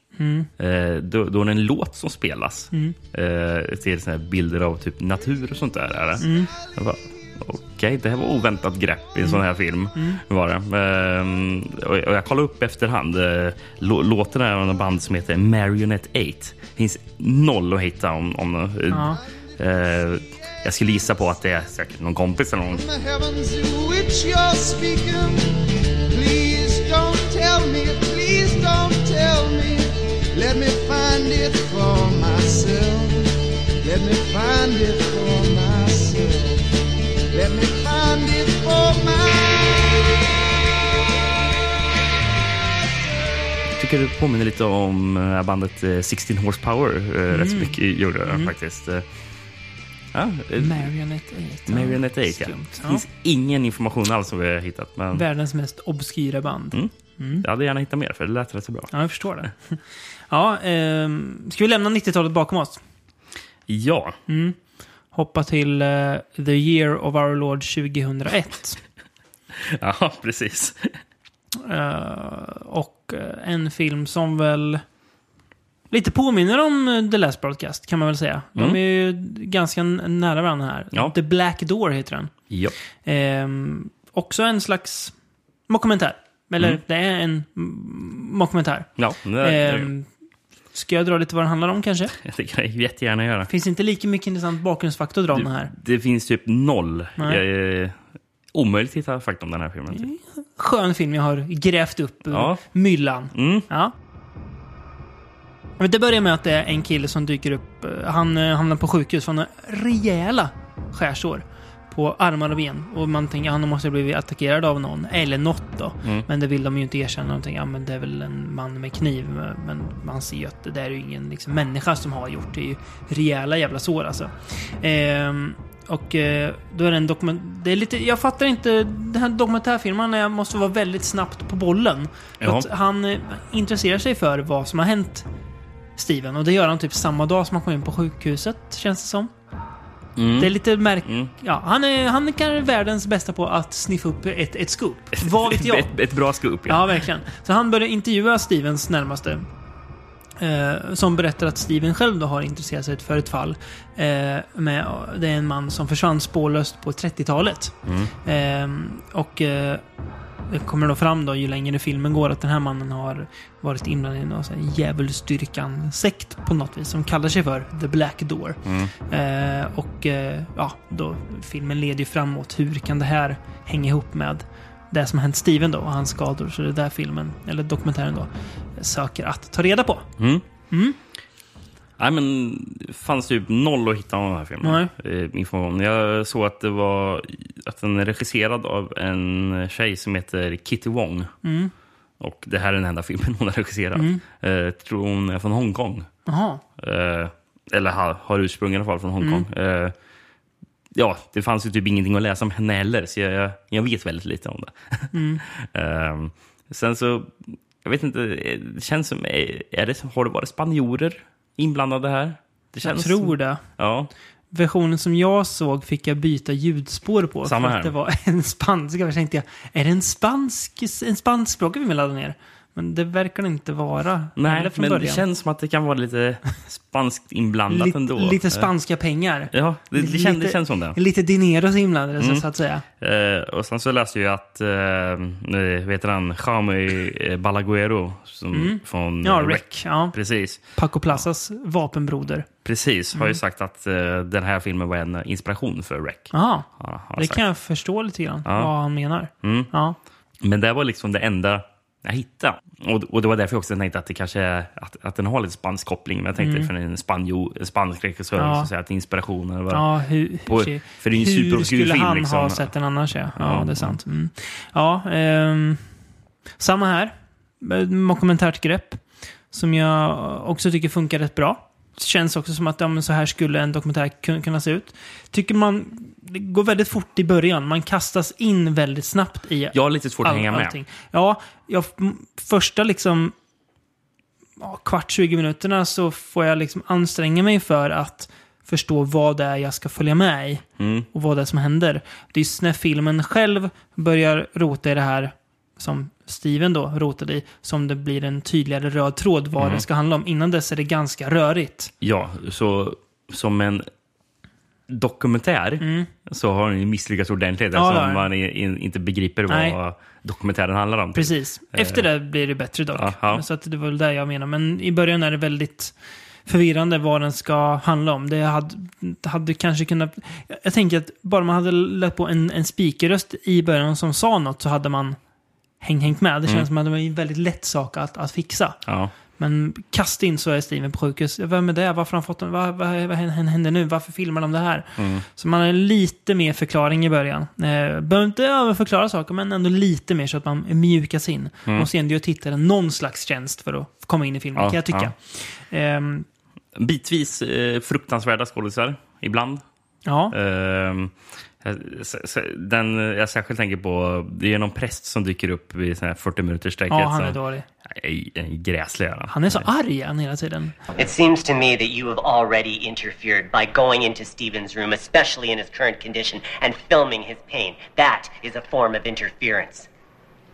S2: Eh, då, då är det en låt som spelas eh, till såna här bilder av typ natur och sånt där. Är det? Jag bara, Okej, det här var oväntat grepp i en sån här film. Var det. Ehm, och och jag kollade upp efterhand. Eh, lå- låten är av en band som heter Marionette 8. finns noll att hitta om, om eh,
S1: Ja.
S2: eh, Jag skulle gissa på att det är säkert någon kompis eller någon
S6: From the heavens to which you're speaking. Please don't tell me, please don't tell me. Let me find it for myself. Let me find it for myself. Let me find it for myself.
S2: tycker det påminner lite om eh, bandet eh, 16 Horsepower. Mm. Rätt så mycket gjorde det faktiskt. Eh, Ja, eh,
S1: Marionette 8.
S2: Marionette 8. Ja.
S1: Skumt,
S2: Det finns ingen information alls som vi har hittat. Men
S1: Världens mest obskyra
S2: Mm.
S1: band.
S2: jag hade gärna hittat mer för det lät rätt så bra.
S1: Ja, jag förstår det. <laughs> Ja, ehm, ska vi lämna 90-talet bakom oss?
S2: Ja,
S1: Hoppa till eh, The Year of Our Lord 2001.
S2: <laughs> ja precis.
S1: Eh, och eh, en film som väl lite påminner om eh, The Last Broadcast kan man väl säga.
S2: Mm.
S1: De är ju ganska n- nära varandra här.
S2: Ja.
S1: The Black Door heter den.
S2: Ja.
S1: Ehm, också en slags mockumentär. Eller
S2: Mm.
S1: det är en mm, mockumentär.
S2: Ja, det, det,
S1: Ehm, ska jag dra lite vad den handlar om
S2: <laughs>
S1: kanske?
S2: det kan jag jättegärna göra.
S1: Finns inte lika mycket intressant bakgrundsfaktor att dra om den här.
S2: Det finns typ noll.
S1: Nej.
S2: Eh, omöjligt att hitta fakta om den här filmen. Typ.
S1: Skön film jag har grävt upp ur
S2: Ja.
S1: myllan.
S2: Mm.
S1: Ja. Men det börjar med att det är en kille som dyker upp. Eh, Han eh, hamnar på sjukhus. Han har rejäla skärsår på armar och ben. Och man tänker att han måste ha blivit attackerad av någon. Eller något då. Men det vill de ju inte erkänna. De tänker ja, men det är väl en man med kniv. Men man ser ju att det där är ju ingen liksom, människa som har gjort. Det är ju rejäla jävla sår alltså. Ehm, och eh, då är det en dokument... Det är lite, jag fattar inte. Den här dokumentärfilmen eh, måste vara väldigt snabbt på bollen. För
S2: Ja.
S1: Att han eh, intresserar sig för vad som har hänt Steven. Och det gör han typ samma dag som han kommer in på sjukhuset, känns det som. Det är lite märk...
S2: Mm.
S1: Ja, han är, han är kanske världens bästa på att sniffa upp ett, ett scoop. Vad vet jag?
S2: <laughs> Ett, ett bra skup.
S1: Ja, verkligen. Så han börjar intervjua Stevens närmaste. Eh, som berättar att Steven själv då har intresserat sig för ett fall. Eh, med, det är en man som försvann spårlöst på 30-talet.
S2: Mm.
S1: Eh, och eh, det kommer då fram då ju längre filmen går att den här mannen har varit inblandad i någon sån här djävulsdyrkan-sekt på något vis som kallar sig för The Black Door. Eh, och eh, ja, då filmen leder ju framåt. Hur kan det här hänga ihop med det som har hänt Steven då och hans skador? Så det är där filmen, eller dokumentären då, söker att ta reda på.
S2: Nej, men det fanns typ noll att hitta om den här filmen. Eh, information. Jag såg att, det var, att den är regisserad av en tjej som heter Kitty Wong. Och det här är den enda filmen hon har regisserat. Eh, tror hon är från Hongkong.
S1: Jaha.
S2: Eh, eller har, har ursprung i alla fall från Hongkong.
S1: Mm.
S2: Eh, ja, det fanns ju typ ingenting att läsa om henne heller, så jag, jag, jag vet väldigt lite om det.
S1: Mm.
S2: <laughs> Eh, sen så, jag vet inte, eh, det känns som, eh, är det, har det varit spanjorer inblandade här? Det
S1: Jag
S2: känns,
S1: tror det.
S2: Ja,
S1: Versionen som jag såg fick jag byta ljudspår på.
S2: Samma
S1: för
S2: här.
S1: att det var <laughs> en spanska. Jag tänkte jag, är det en spansk, en spanskspråkig vi vill ladda ner? Men det verkar det inte vara.
S2: nej,
S1: Eller från
S2: men det
S1: början.
S2: känns som att det kan vara lite spanskt inblandat
S1: lite,
S2: ändå.
S1: lite
S2: Eh,
S1: spanska pengar.
S2: Ja, det, det, känns, det känns som det. Mm.
S1: Lite dineros inblandade, så- så att säga.
S2: Eh, och sen så läste jag att, eh, vet han, Jaume eh, Balaguero som, från
S1: Mm. Ja,
S2: eh,
S1: Rick. Ja.
S2: Precis,
S1: Paco Plazas vapenbroder.
S2: precis.
S1: Mm.
S2: Har ju sagt att eh, den här filmen var en inspiration för Rec.
S1: Jaha.
S2: Har- har
S1: Det
S2: sagt.
S1: kan jag förstå lite grann, vad han menar.
S2: Mm.
S1: Ja.
S2: Men det var liksom det enda jag hittade. Och, och det var därför jag också tänkte att, det kanske, är- att, att den har lite spansk koppling. Men jag tänkte för en spanjo, spansk regissör,
S1: Mm. Ja.
S2: så att, säga, att inspirationen var...
S1: Ja, hur,
S2: På-
S1: hur,
S2: för det är ju en
S1: hur
S2: superobskyr
S1: skulle
S2: film,
S1: han
S2: liksom.
S1: ha sett den annars? Ja, ja,
S2: Ja.
S1: det är sant. Mm. Ja, ehm, samma här. Ett Dokumentärt grepp. Som jag också tycker funkar rätt bra. Känns också som att ja, men så här skulle en dokumentär kun- kunna se ut. Tycker man... Det går väldigt fort i början. Man kastas in väldigt snabbt i
S2: Jag har lite svårt att hänga med.
S1: allting. Ja, jag, m- första liksom ja, kvart, 20 minuterna så får jag liksom anstränga mig för att förstå vad det är jag ska följa med i
S2: Mm.
S1: och vad det är som händer. Det är just när filmen själv börjar rota i det här som Steven då rotade i, som det blir en tydligare röd tråd vad
S2: Mm.
S1: det ska handla om. Innan dess är det ganska rörigt.
S2: Ja, så som en dokumentär så har den ju misslyckats ordentligt
S1: Mm. Ja, det har
S2: eftersom
S1: den.
S2: man i- i- inte begriper vad
S1: Nej.
S2: dokumentären handlar om.
S1: Precis. Efter det blir det bättre dock.
S2: Aha.
S1: Så att det var väl det jag menar. Men i början är det väldigt förvirrande vad den ska handla om. Det hade, det hade kanske kunnat... Jag- Jag tänker att bara man hade lagt på en, en speakerröst i början som sa något så hade man häng, hängt med. Det känns som att det var en väldigt lätt sak att, att fixa.
S2: Ja.
S1: Men kast in så är Steven på sjukhus. Vem är det? Varför har han fått den? Vad, vad, vad händer nu? Varför filmar de det här? Så man har lite mer förklaring i början. Eh, behöver inte överförklara saker, men ändå lite mer så att man mjukas in. Och sen gör tittaren någon slags tjänst för att komma in i filmen,
S2: Ja,
S1: kan jag tycka. Ehm,
S2: Bitvis eh, fruktansvärda skådisar ibland.
S1: ja.
S2: Ehm, s- s- den jag särskilt tänker på, det är någon präst som dyker upp vid sån här 40 minuters sträcket.
S1: ja, han är dålig.
S2: Gräslig är han.
S1: Han är så arg han hela tiden.
S7: It seems to me that you have already interfered by going into Steven's room, especially in his current condition, and filming his pain. That is a form of interference.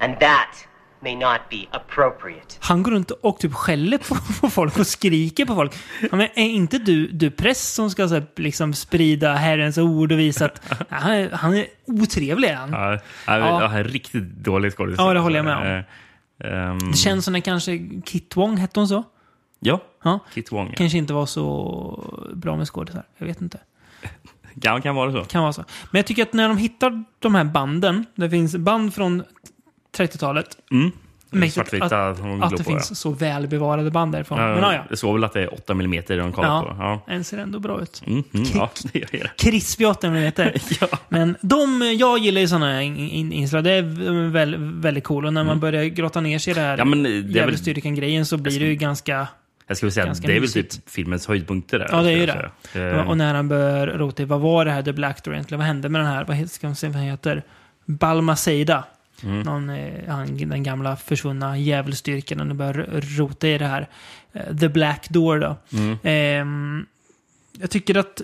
S7: And that may not be appropriate.
S1: Han går runt och typ skäller på, <laughs> på folk och skriker på folk. Ja, men är inte du, du präst som ska så här, liksom, sprida Herrens ord och visa att Nej, han är, han är otrevlig? är Han.
S2: Ja, ja,
S1: Ja.
S2: ja. han är riktigt dålig skådis.
S1: Ja, det håller jag med om.
S2: Eh, ehm,
S1: Det känns som när kanske Kit Wong, hette hon så?
S2: ja,
S1: Ja.
S2: Kit Wong. Ja.
S1: Kanske inte var så bra med skådisar. Jag vet inte.
S2: Kan, kan vara så.
S1: Kan vara så. Men jag tycker att när de hittar de här banden, det finns band från 30-talet.
S2: Mm.
S1: Mäktigt
S2: Svartvita
S1: att,
S2: att, hon
S1: att
S2: glor
S1: det
S2: på,
S1: finns
S2: ja.
S1: så välbevarade band därifrån. Men ja,
S2: Ja,
S1: ja.
S2: Jag såg väl att det är 8 mm de kollar på. Ja.
S1: ja. En ser ändå bra ut.
S2: Mm, mm,
S1: <laughs>
S2: ja, det gör det.
S1: krispig 8 mm.
S2: <laughs> Ja.
S1: Men de, jag gillar ju sådana in, in, inslag. Det är v- väl, väldigt cool. Och när man börjar grotta ner sig i det här
S2: Mm. Ja, men det är väl- Alltså-
S1: djävulsdyrkan-grejen så blir det ju ganska...
S2: Jag skulle säga att
S1: Ganska
S2: det är väl
S1: mysigt.
S2: typ filmens höjdpunkter. Där,
S1: Ja, det är ju
S2: skulle jag
S1: det.
S2: säga. Eh,
S1: Och när han börjar rota i vad var det här The Black Door egentligen? Vad hände med den här? Vad heter, ska man säga vad han heter? Balma Seida.
S2: Mm.
S1: Någon, eh, han, den gamla försvunna djävulsdyrkan. När han börjar r- rota i det här. eh, The Black Door då.
S2: Mm.
S1: Ehm, jag tycker att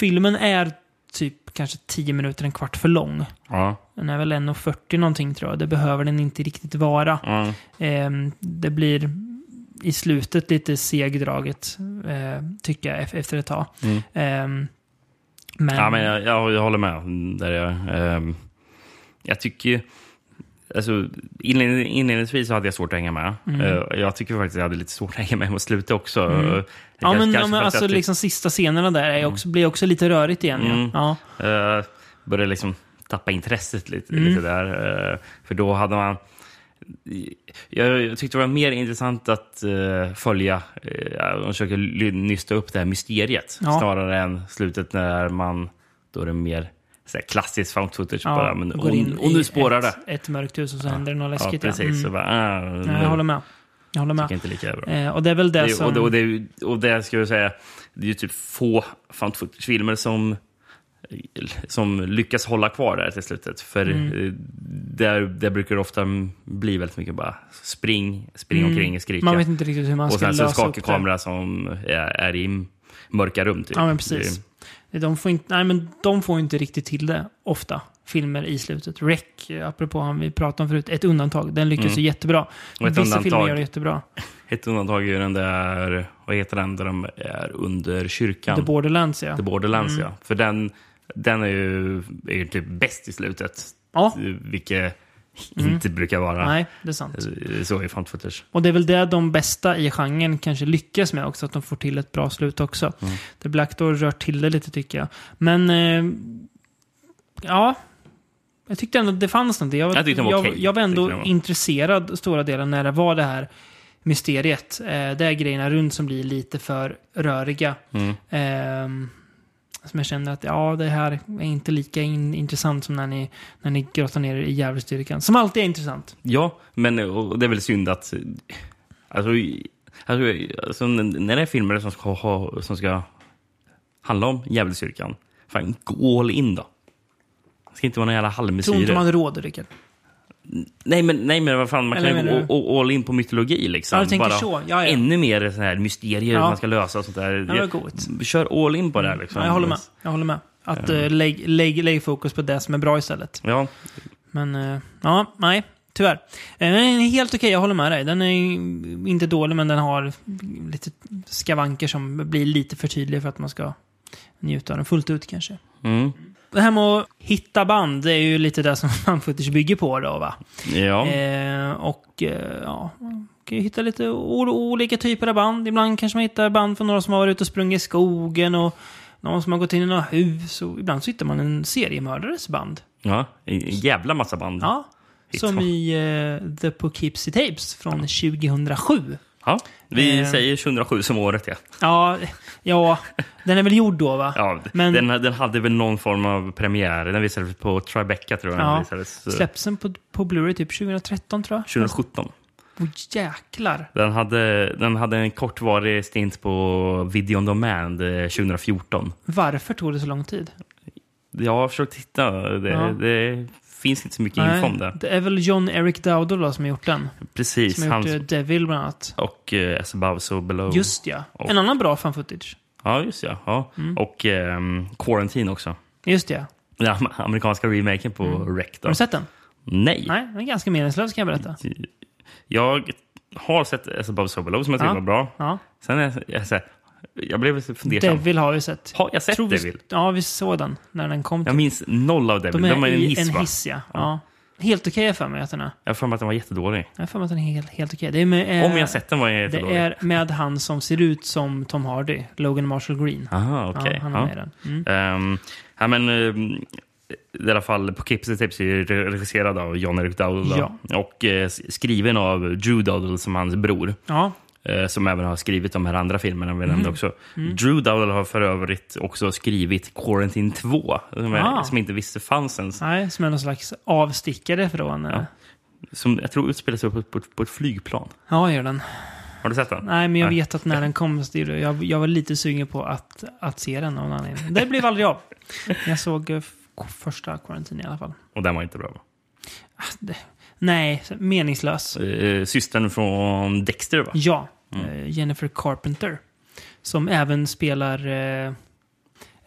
S1: filmen är typ kanske 10 minuter, en kvart för lång.
S2: ja,
S1: Den är väl 1,40 någonting tror jag. Det behöver den inte riktigt vara.
S2: ja.
S1: Ehm, det blir i slutet lite segdraget, eh, tycker jag, ef- efter ett tag. Ehm, men,
S2: Mm. ja, men jag, jag, jag håller med. Där jag, ehm, jag tycker ju- Alltså, inled- inledningsvis så hade jag svårt att hänga med.
S1: Mm.
S2: Eh, jag tycker faktiskt jag hade lite svårt att hänga med mot slutet också. Eh, kanske-
S1: ja, men, ja,
S2: kanske för
S1: men
S2: att
S1: alltså
S2: jag tyck-
S1: liksom sista scenerna där är också, blir också lite rörigt igen. ja.
S2: Mm.
S1: Ja.
S2: Eh, började liksom tappa intresset lite,
S1: Mm.
S2: lite där. Eh, för då hade man... Jag, jag tyckte det var mer intressant att eh, följa eh, och försöka ly- nysta upp det här mysteriet
S1: Ja.
S2: snarare än slutet när man... Då är det mer så här, klassiskt found footage.
S1: Ja,
S2: bara, men,
S1: går
S2: och,
S1: in
S2: och
S1: i
S2: nu spårar det.
S1: ett, Ett mörkt hus och så händer det något
S2: Ja,
S1: läskigt.
S2: precis. Så
S1: Mm.
S2: bara, ah, nu
S1: Nej, jag håller med. Jag håller
S2: tycker jag
S1: med.
S2: inte lika bra.
S1: Eh, och det är väl det,
S2: Det, är-
S1: som...
S2: och, det, och, det, är ju- och det ska jag säga, det är ju typ få found footage-filmer som, som lyckas hålla kvar där till slutet. För
S1: Mm.
S2: eh, där, där brukar det ofta bli väldigt mycket bara spring, spring omkring och skrika.
S1: Mm. man vet inte riktigt hur man
S2: och
S1: ska
S2: sen så
S1: lösa upp
S2: skakig
S1: det.
S2: kamera som är, är i mörka rum. Typ.
S1: Ja, men precis. De får inte, nej, men de får inte riktigt till det ofta, filmer i slutet. Rec, apropå han vi pratade om förut, ett undantag. Den lyckas ju jättebra.
S2: Mm. Och ett
S1: Vissa
S2: undantag-
S1: filmer gör det jättebra.
S2: Det, ett undantag är ju den där, vad heter den, där de är under kyrkan.
S1: The Borderlands, Mm. ja.
S2: The Borderlands, ja. För den, den är ju, är ju typ bäst i slutet.
S1: Ja. Mm.
S2: Vilket inte brukar vara
S1: Nej, det är sant.
S2: Eh, så i found footage.
S1: Och det är väl det de bästa i genren kanske lyckas med också, att de får till ett bra slut också.
S2: Mm.
S1: The Black Door rör till det lite tycker jag. Men, eh, ja. Jag tyckte ändå att det fanns någonting. Jag,
S2: Jag tyckte den var okej.
S1: jag var ändå
S2: Tyckte den var-
S1: intresserad stora delen när det var det här mysteriet. Eh, det är grejerna runt som blir lite för röriga.
S2: Mm.
S1: Ehm, som jag kände att ja, det här är inte lika in, intressant som när ni, när ni grottar ner er i djävulsdyrkan. Som alltid är intressant.
S2: Ja, men och det är väl synd att... Alltså, i- alltså, alltså när det är filmer som ska, ha, som ska handla om djävulsdyrkan, fan, gå all in då. Det ska inte vara någon jävla
S1: Tror inte
S2: halvmesyrer.
S1: man råder, Rickard.
S2: Nej, men, nej, men vad fan, man
S1: Eller
S2: kan ju
S1: menar
S2: gå all- all in på mytologi. Liksom.
S1: Ja, du tänker
S2: Bara
S1: så. Ja, ja.
S2: Ännu mer sån här mysterier
S1: Ja.
S2: man ska lösa och sånt där.
S1: det var coolt.
S2: Kör all in på det här. Liksom.
S1: Ja, jag håller med. Jag håller med. Att eh, lägg, lägg, lägg fokus på det som är bra istället.
S2: Ja,
S1: Men eh, ja, nej. Tyvärr. Eh, Men den är helt okej, jag håller med dig. Den är ju inte dålig, men den har lite skavanker som blir lite för tydliga för att man ska njuta av den fullt ut kanske.
S2: Mm.
S1: Det här med att hitta band, det är ju lite det som <laughs> fanfootage bygger på då va?
S2: ja.
S1: Eh, och eh, ja, man kan ju hitta lite o- olika typer av band. Ibland kanske man hittar band från några som har varit ute och sprungit i skogen och någon som har gått in i några hus. Och ibland så hittar man en seriemördares band.
S2: ja. En jävla massa band.
S1: Ja,
S2: Hittar
S1: som
S2: man.
S1: i eh, The Poughkeepsie Tapes från 2007.
S2: Ja. Vi
S1: Eh.
S2: säger 2007 som året, ja.
S1: Ja, ja, den är väl gjord då va?
S2: ja
S1: Men-
S2: den, den hade väl någon form av premiär. Den visades på Tribeca, tror jag. Den
S1: Ja.
S2: visades, eh,
S1: Släpps den på, på Blu-ray typ 2013 tror jag?
S2: 2017.
S1: Åh jäklar.
S2: Den hade, den hade en kortvarig stint på Video on Demand eh, 2014.
S1: Varför tog det så lång tid?
S2: Jag har försökt hitta. Det,
S1: Ja.
S2: det finns inte så mycket info om det.
S1: det är väl John Eric Dowdall som har gjort den.
S2: Precis.
S1: Som har
S2: Hans
S1: gjort eh, Devil bland annat.
S2: och eh, As above, so below.
S1: Just Mm. ja.
S2: Och-
S1: En annan bra fan footage.
S2: Ja, just ja. ja. Och ehm, Quarantine också.
S1: Just ja.
S2: Den am- amerikanska remaken på Rec. Då.
S1: Mm. Har du sett den?
S2: Nej.
S1: Nej, den är ganska meningslös kan jag berätta.
S2: Jag har sett As above, so below som jag
S1: Ja.
S2: tyckte var bra.
S1: Ja.
S2: Sen är jag, jag, så här- jag blev lite fundersam.
S1: Devil har vi sett.
S2: Har jag sett
S1: Tror vi-
S2: Devil?
S1: Ja, vi såg den när den kom.
S2: Jag minns noll av Devil.
S1: De är,
S2: Den var en
S1: i
S2: hiss,
S1: en
S2: va?
S1: hiss, ja. ja. Helt okej okay för mig att den är.
S2: Jag har för mig att den var jättedålig.
S1: Jag har för mig att den är helt, helt okej. Det är med, eh,
S2: Om jag har sett den var den
S1: Det
S2: jättedålig.
S1: är med han som ser ut som Tom Hardy, Logan Marshall Green.
S2: Aha, okej.
S1: Ja, han är
S2: Ja.
S1: med i den. Mm.
S2: Ehm, ja, men, ehm, I alla fall, på Kipsy Tips är ju re- regisserad av John Eric Dowdle då. och eh, s- skriven av Drew Dowdle som hans bror.
S1: Ja,
S2: eh, Som även har skrivit de här andra filmerna vi
S1: Mhm.
S2: nämnde också.
S1: Mm.
S2: Drew Dowdle har för övrigt också skrivit Quarantine 2, som,
S1: Ah.
S2: jag, som jag inte visste fanns ens.
S1: nej, som är någon slags avstickare från... eh,
S2: Som jag tror utspelar sig på, på, på ett flygplan.
S1: Ja, gör den.
S2: Har du sett den?
S1: Nej, men jag vet att när den kom, så det- jag, jag var lite sugen på att, att se den av någon anledning. Det blev aldrig av. Jag såg eh, f- första Quarantine i alla fall.
S2: Och den var inte bra. va?
S1: Nej, meningslös.
S2: Eh, Systern från Dexter, va?
S1: Ja,
S2: Mm.
S1: eh, Jennifer Carpenter. Som även spelar eh,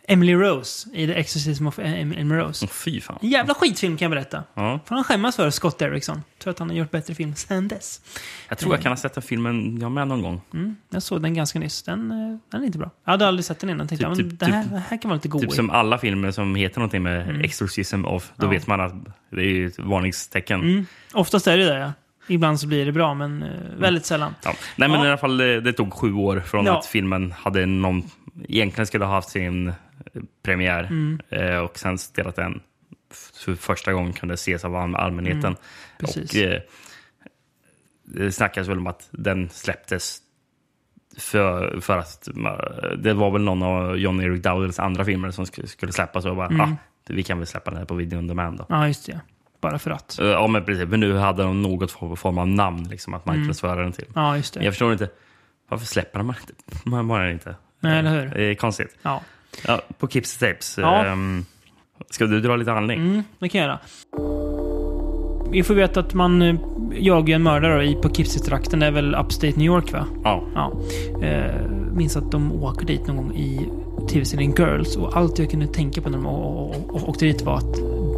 S1: Emily Rose i The Exorcism of Em- Emily Rose.
S2: Åh, Fy fan.
S1: En jävla skitfilm kan jag berätta.
S2: Ja.
S1: Får han skämmas för, Scott Derrickson. Tror att han har gjort bättre film sen dess.
S2: Jag tror jag kan ha sett den filmen jag med någon gång.
S1: Jag såg den ganska nyss. Den, eh, den är inte bra. Jag hade aldrig sett den innan. Tänkte
S2: Typ-
S1: jag, men
S2: typ-
S1: det, här,
S2: typ-
S1: det här kan vara lite god.
S2: Typ som alla filmer som heter någonting med
S1: Mm.
S2: Exorcism of. Då vet man att det är ju ett varningstecken.
S1: Mm. Oftast är det det, ja. Ibland så blir det bra, men eh, väldigt sällan.
S2: Mm. Ja. Nej, men
S1: Ja.
S2: i alla fall, det, det tog sju år från
S1: Ja.
S2: att filmen hade någon, egentligen skulle ha haft sin eh, premiär
S1: Mm.
S2: eh, och sen spelat den f- för första gången kunde ses av all- allmänheten.
S1: Mm. precis.
S2: Och, eh, det snackas väl om att den släpptes för, för att ma- det var väl någon av John Eric Dowdles andra filmer som sk- skulle släppas och bara,
S1: Mm.
S2: ah, vi kan väl släppa den här på video on demand då.
S1: Ja, just det. Bara för att.
S2: Eh, Ja, men precis. Men nu hade de något for- form av namn liksom, att
S1: Mm.
S2: marknadsföra den till.
S1: Ja, just det.
S2: Jag förstår inte. Varför släpper man inte? <laughs> Man bara inte.
S1: Nej, eller hur?
S2: Det är konstigt.
S1: Ja,
S2: Ja, på Kips Tapes.
S1: Ja. Mm.
S2: ehm, ska du dra lite handling?
S1: det kan jag göra. Vi får veta att man eh, jagar en mördare då i Poughkeepsie-trakten. Det är väl Upstate New York, va?
S2: Ja.
S1: Ja. Eh, minns att de åker dit någon gång i tv-serien Girls och allt jag kunde tänka på när de å- å- å- åkte dit var att,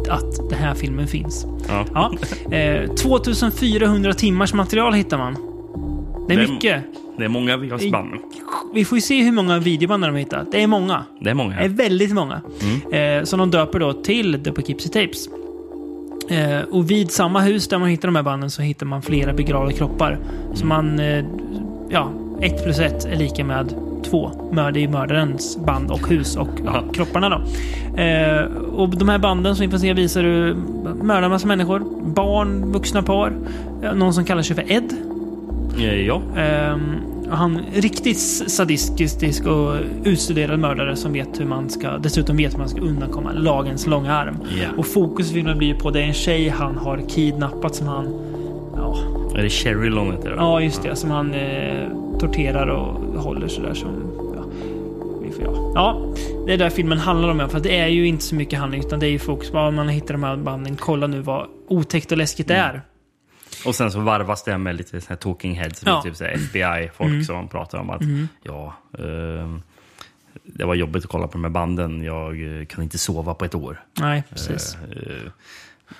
S1: att den här filmen finns.
S2: Ja. <laughs>
S1: Ja. Eh, 2400 timmars material hittar man. Det är
S2: Det är-
S1: mycket.
S2: Det är många VHS-band.
S1: Vi får ju se hur många videoband de har hittat. Det är många.
S2: Det är många.
S1: Det är väldigt många. Eh, som de döper då till The Poughkeepsie Tapes. Eh, och vid samma hus där man hittar de här banden så hittar man flera begravda kroppar. Så man... Eh, ja, ett plus ett är lika med 2. Mör- Det är ju mördarens band och hus och kropparna då. Eh, och de här banden som vi får se visar hur mördar massa människor. Barn, vuxna par. eh, Någon som kallar sig för Ed.
S2: Eh, Ja.
S1: Ehm, och han är riktigt sadistisk och utstuderad mördare som vet hur man ska, dessutom vet hur man ska undankomma lagens långa arm.
S2: Ja.
S1: Och fokus i filmen blir ju på det är en tjej han har kidnappat som han, ja,
S2: Är det Cherry Long heter det?
S1: ja just det, som han eh, torterar och håller sådär som, ja, vi får, ja. ja, det är där filmen handlar om i alla fall. Det är ju inte så mycket handling utan det är ju fokus på, ja, man hittar de här banden, kolla nu vad otäckt och läskigt det är.
S2: Och sen så varvas det med lite sån här talking heads,
S1: Ja. Mm.
S2: med typ så här FBI-folk som pratar om att ja, ehm, det var jobbigt att kolla på de här banden. Jag eh, kan inte sova på ett år.
S1: Nej, precis.
S2: Eh,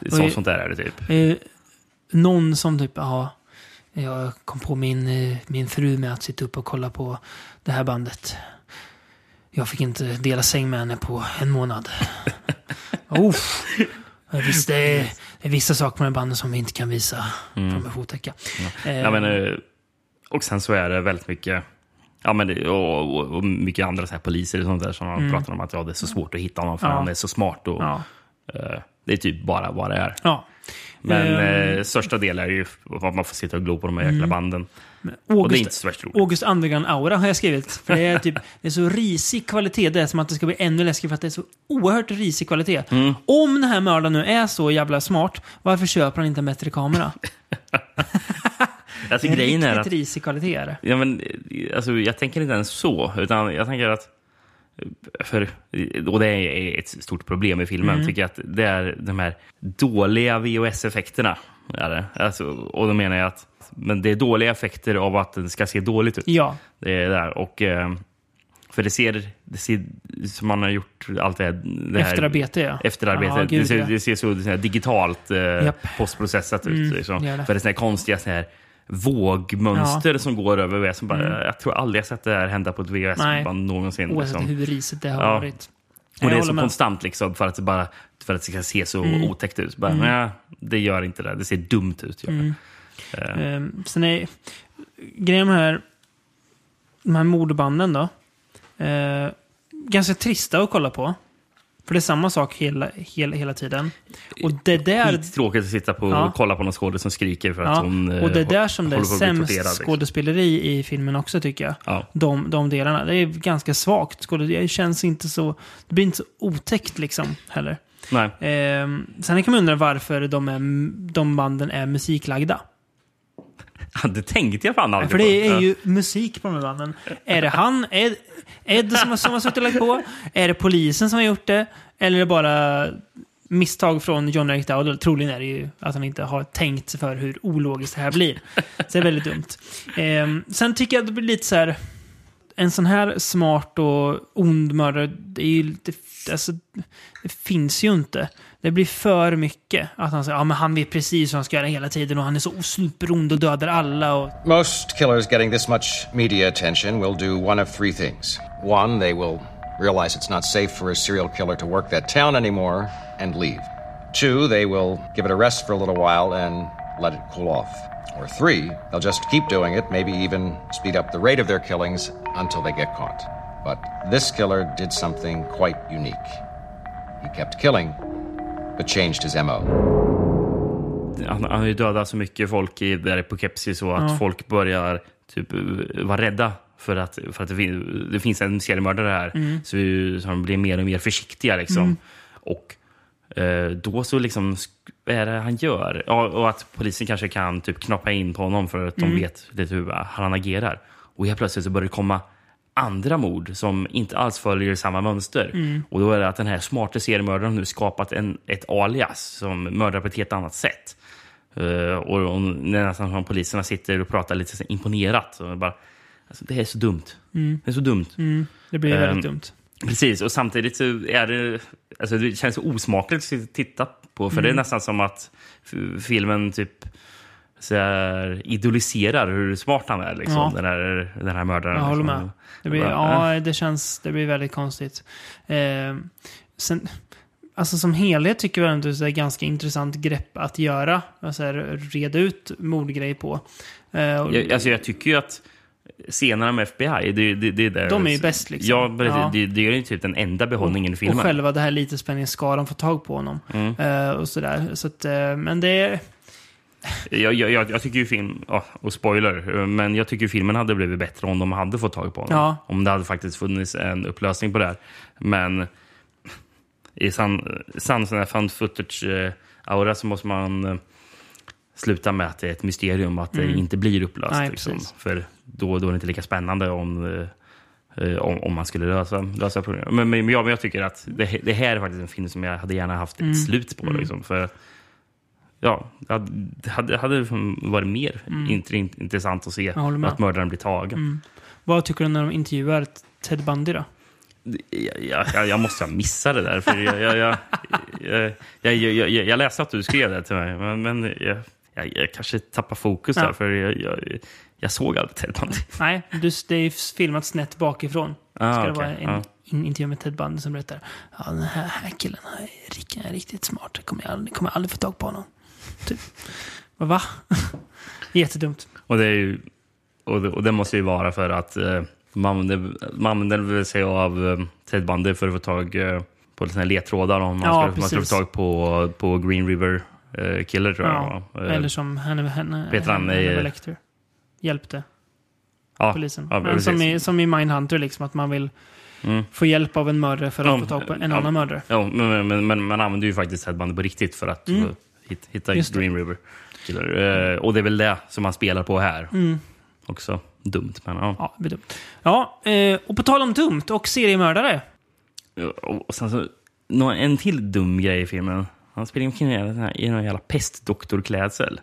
S1: i-
S2: sånt, sånt där är det typ.
S1: Eh, någon som typ, ja, jag kom på min, eh, min fru med att sitta upp och kolla på det här bandet. Jag fick inte dela säng med henne på en
S2: <laughs>
S1: månad. Uff. Jag visste, det är vissa saker med banden som vi inte kan visa. Mm. De är otäcka. Eh,
S2: Ja, men, eh, och sen så är det väldigt mycket Ja, men det, och, och, och mycket andra så här poliser och sånt där som pratar om att ja, det är så svårt att hitta honom för
S1: Mm. Ja.
S2: han är så smart. Och,
S1: ja.
S2: eh, det är typ bara vad det är.
S1: ja.
S2: Men
S1: Ehm. Mm.
S2: eh, största delen är ju vad man får sitta och glo på de här jäkla banden. Och det är inte
S1: August,
S2: så värst roligt.
S1: August Andergren-aura har jag skrivit. För det är, typ, det är så risig kvalitet. Det är som att det ska bli ännu läskigare för att det är så oerhört risig kvalitet.
S2: Mm.
S1: Om den här mördaren nu är så jävla smart, varför köper han inte en bättre
S2: <laughs>
S1: kamera?
S2: Alltså,
S1: Det är
S2: grejen är
S1: riktigt
S2: att,
S1: risig kvalitet. Är det.
S2: ja, men, eh, alltså, jag tänker inte ens så, utan jag tänker att... För, och det är ett stort problem i filmen, tycker jag, att det är de här dåliga VHS-effekterna. Är det. Alltså, och då menar jag att men det är dåliga effekter av att den ska se dåligt ut.
S1: Ja.
S2: Det är där. Och, eh, för det ser, det ser som man har gjort allt det här... Det här
S1: Efterarbete, ja.
S2: Efterarbetet.
S1: Ja,
S2: det,
S1: gud,
S2: ser,
S1: ja.
S2: det ser så, så här digitalt eh,
S1: Japp.
S2: postprocessat ut. liksom.
S1: det gör det.
S2: För det är såna här konstiga såna här vågmönster som går över VHS. Som bara, Jag tror aldrig jag sett det här hända på ett
S1: Mm. Nej.
S2: VHS-band någonsin.
S1: Oavsett
S2: Liksom.
S1: hur risigt det har
S2: Ja.
S1: varit.
S2: Och
S1: Jag
S2: det är
S1: håller
S2: så
S1: med. Mm.
S2: konstant liksom, för, att det bara, för att det ska se så otäckt ut. Bara, Nej, det gör inte det. Det ser dumt ut. Gör det.
S1: Mm. Ehm, sen är grejen med de här, de här mordbanden då. Eh, ganska trista att kolla på. För det är samma sak hela, hela, hela tiden. Och det där
S2: Skittråkigt att sitta på
S1: Ja.
S2: och kolla på någon skådespelare som skriker för att
S1: Ja,
S2: hon eh,
S1: och det är där som det är
S2: håller på att bli
S1: sämst
S2: torterad, liksom.
S1: skådespeleri i filmen också tycker jag.
S2: Ja.
S1: De, de delarna. Det är ganska svagt skådespeleri. Det känns inte så... Det blir inte så otäckt liksom heller.
S2: Nej.
S1: Ehm, sen kan man undra varför de, är, de banden är musiklagda.
S2: Ja, <laughs> Det tänkte jag fan aldrig
S1: Eh, För det
S2: på.
S1: är ju musik på de här banden. Är det han, Ed, Ed som, har- som har suttit och lagt på? Är det polisen som har gjort det? Eller är det bara misstag från John Eric Dowdell? Troligen är det ju att han inte har tänkt sig för hur ologiskt det här blir. Så det är väldigt dumt. Ehm, sen tycker jag att det blir lite så här... En sån här smart och ond mördare, det, är ju, lite- alltså, det finns ju inte. Det blir för mycket. Att han säger ja, men han vet precis vad han ska göra hela tiden och han är så superond och dödar alla. Och,
S8: Most killers getting this much media attention will do one of three things. One, they will realize it's not safe for a serial killer to work that town anymore and leave. Two, they will give it a rest for a little while and let it cool off. Or three, they'll just keep doing it, maybe even speed up the rate of their killings until they get caught. But this killer did something quite unique. He kept killing, but changed his MO.
S2: Han, han har ju dödat så mycket folk i, där i Poughkeepsie så att folk börjar typ eh, vara rädda. För att, för att det, fin, det finns en seriemördare här. Så, så de blir mer och mer försiktiga. Liksom. Och eh, då så liksom, sk- vad är det han gör? Ja, och att polisen kanske kan typ knappa in på honom för att de vet lite hur eh, han agerar. Och helt plötsligt så börjar det komma andra mord som inte alls följer samma mönster. Och då är det att den här smarta seriemördaren har nu skapat en, ett alias som mördar på ett helt annat sätt. Eh, och och nästan som poliserna sitter och pratar lite så här imponerat. Och bara, alltså, det här är så dumt.
S1: Mm.
S2: Det är så dumt.
S1: Det blir väldigt
S2: Ehm,
S1: dumt.
S2: Precis, och samtidigt så är det... Alltså det känns så osmakligt att titta på. För det är
S1: Mm.
S2: nästan som att f- filmen typ så här, idoliserar hur smart han är, liksom,
S1: Ja.
S2: den, här, den här mördaren.
S1: Jag håller
S2: liksom.
S1: med. Det blir,
S2: Bara, eh.
S1: ja, det känns... Det blir väldigt konstigt. Ehm, sen, alltså som helhet tycker jag ändå att det är ett ganska intressant grepp att göra. Alltså här, reda ut mordgrej på. Ehm, och,
S2: Jag, alltså jag tycker ju att scenerna med FBI. Det, det, det är där.
S1: De är ju bäst, liksom.
S2: Ja, men
S1: Ja.
S2: Det, det är ju typ den enda behållningen i filmen.
S1: Och själva det här lite spänningsskadan får tag på honom. Eh, och sådär. Så att, eh, men det är...
S2: Jag, jag, jag, jag tycker ju film, ja, och spoiler, eh, men jag tycker ju filmen hade blivit bättre om de hade fått tag på honom.
S1: Ja.
S2: Om det hade faktiskt funnits en upplösning på det här. Men i sann san sån här found footage-aura så måste man eh, sluta med att det är ett mysterium och att det inte blir upplöst.
S1: Mm. Nej,
S2: liksom.
S1: precis.
S2: För då, då är det inte lika spännande om, eh, eh, om, om man skulle lösa, lösa problemet. Men, men, men, ja, men jag tycker att det, det här är faktiskt en film som jag hade gärna haft ett
S1: Mm.
S2: slut på. Liksom, för Ja, det hade- det hade, hade varit mer int- int- intressant att se
S1: Mm. Jag håller med. Mm.
S2: att mördaren blir tagen.
S1: Vad tycker du när de intervjuar Ted Bundy då?
S2: Jag, jag- jag, jag måste ha missat det där. För jag, jag, jag, jag, jag, jag, jag, jag läste att du skrev det till mig, men, men jag, jag, jag kanske tappar fokus där.
S1: Ja.
S2: För jag, jag, jag såg aldrig Ted Bundy.
S1: Nej, du, det är filmat snett bakifrån.
S2: Ah,
S1: Ska det
S2: okej,
S1: vara en
S2: ja.
S1: in, intervju med Ted Bundy som berättar. Ja, den här, här killen han är, rik- är riktigt smart. Jag kommer, aldrig, kommer aldrig få tag på honom. Typ. Vad, Va? <laughs> Jättedumt.
S2: Och det, är ju, och det, och det måste ju vara för att eh, man använder- man använder väl sig av eh, Ted Bundy för att få tag eh, på lite såna här ledtrådar om man,
S1: Ja,
S2: skulle, man skulle
S1: precis.
S2: få tag på, på Green River eh, Killer, tror
S1: Ja,
S2: jag. Eh,
S1: Eller som Hannibal, Hannibal,
S2: Peter han är-
S1: Hannibal Lecter. Hjälpte.
S2: ja,
S1: polisen.
S2: Ja,
S1: Men
S2: precis. Mm.
S1: som, i, som i Mindhunter, liksom, att man vill få hjälp av en mördare för att
S2: Ja,
S1: få tag på en
S2: ja.
S1: annan mördare.
S2: Ja, men, men, men man använder ju faktiskt headbandet på riktigt för att eh, hit, hitta
S1: Mm. Just det.
S2: Green River. Killer. Eh, och det är väl det som man spelar på här.
S1: Mm.
S2: Också dumt, men ja.
S1: Ja, det blir dumt. Ja, eh, och på tal om dumt och seriemördare.
S2: Eh, Och, och sen så, nå- en till dum grej i filmen. Han springer omkring i den här- i någon jävla pestdoktorklädsel.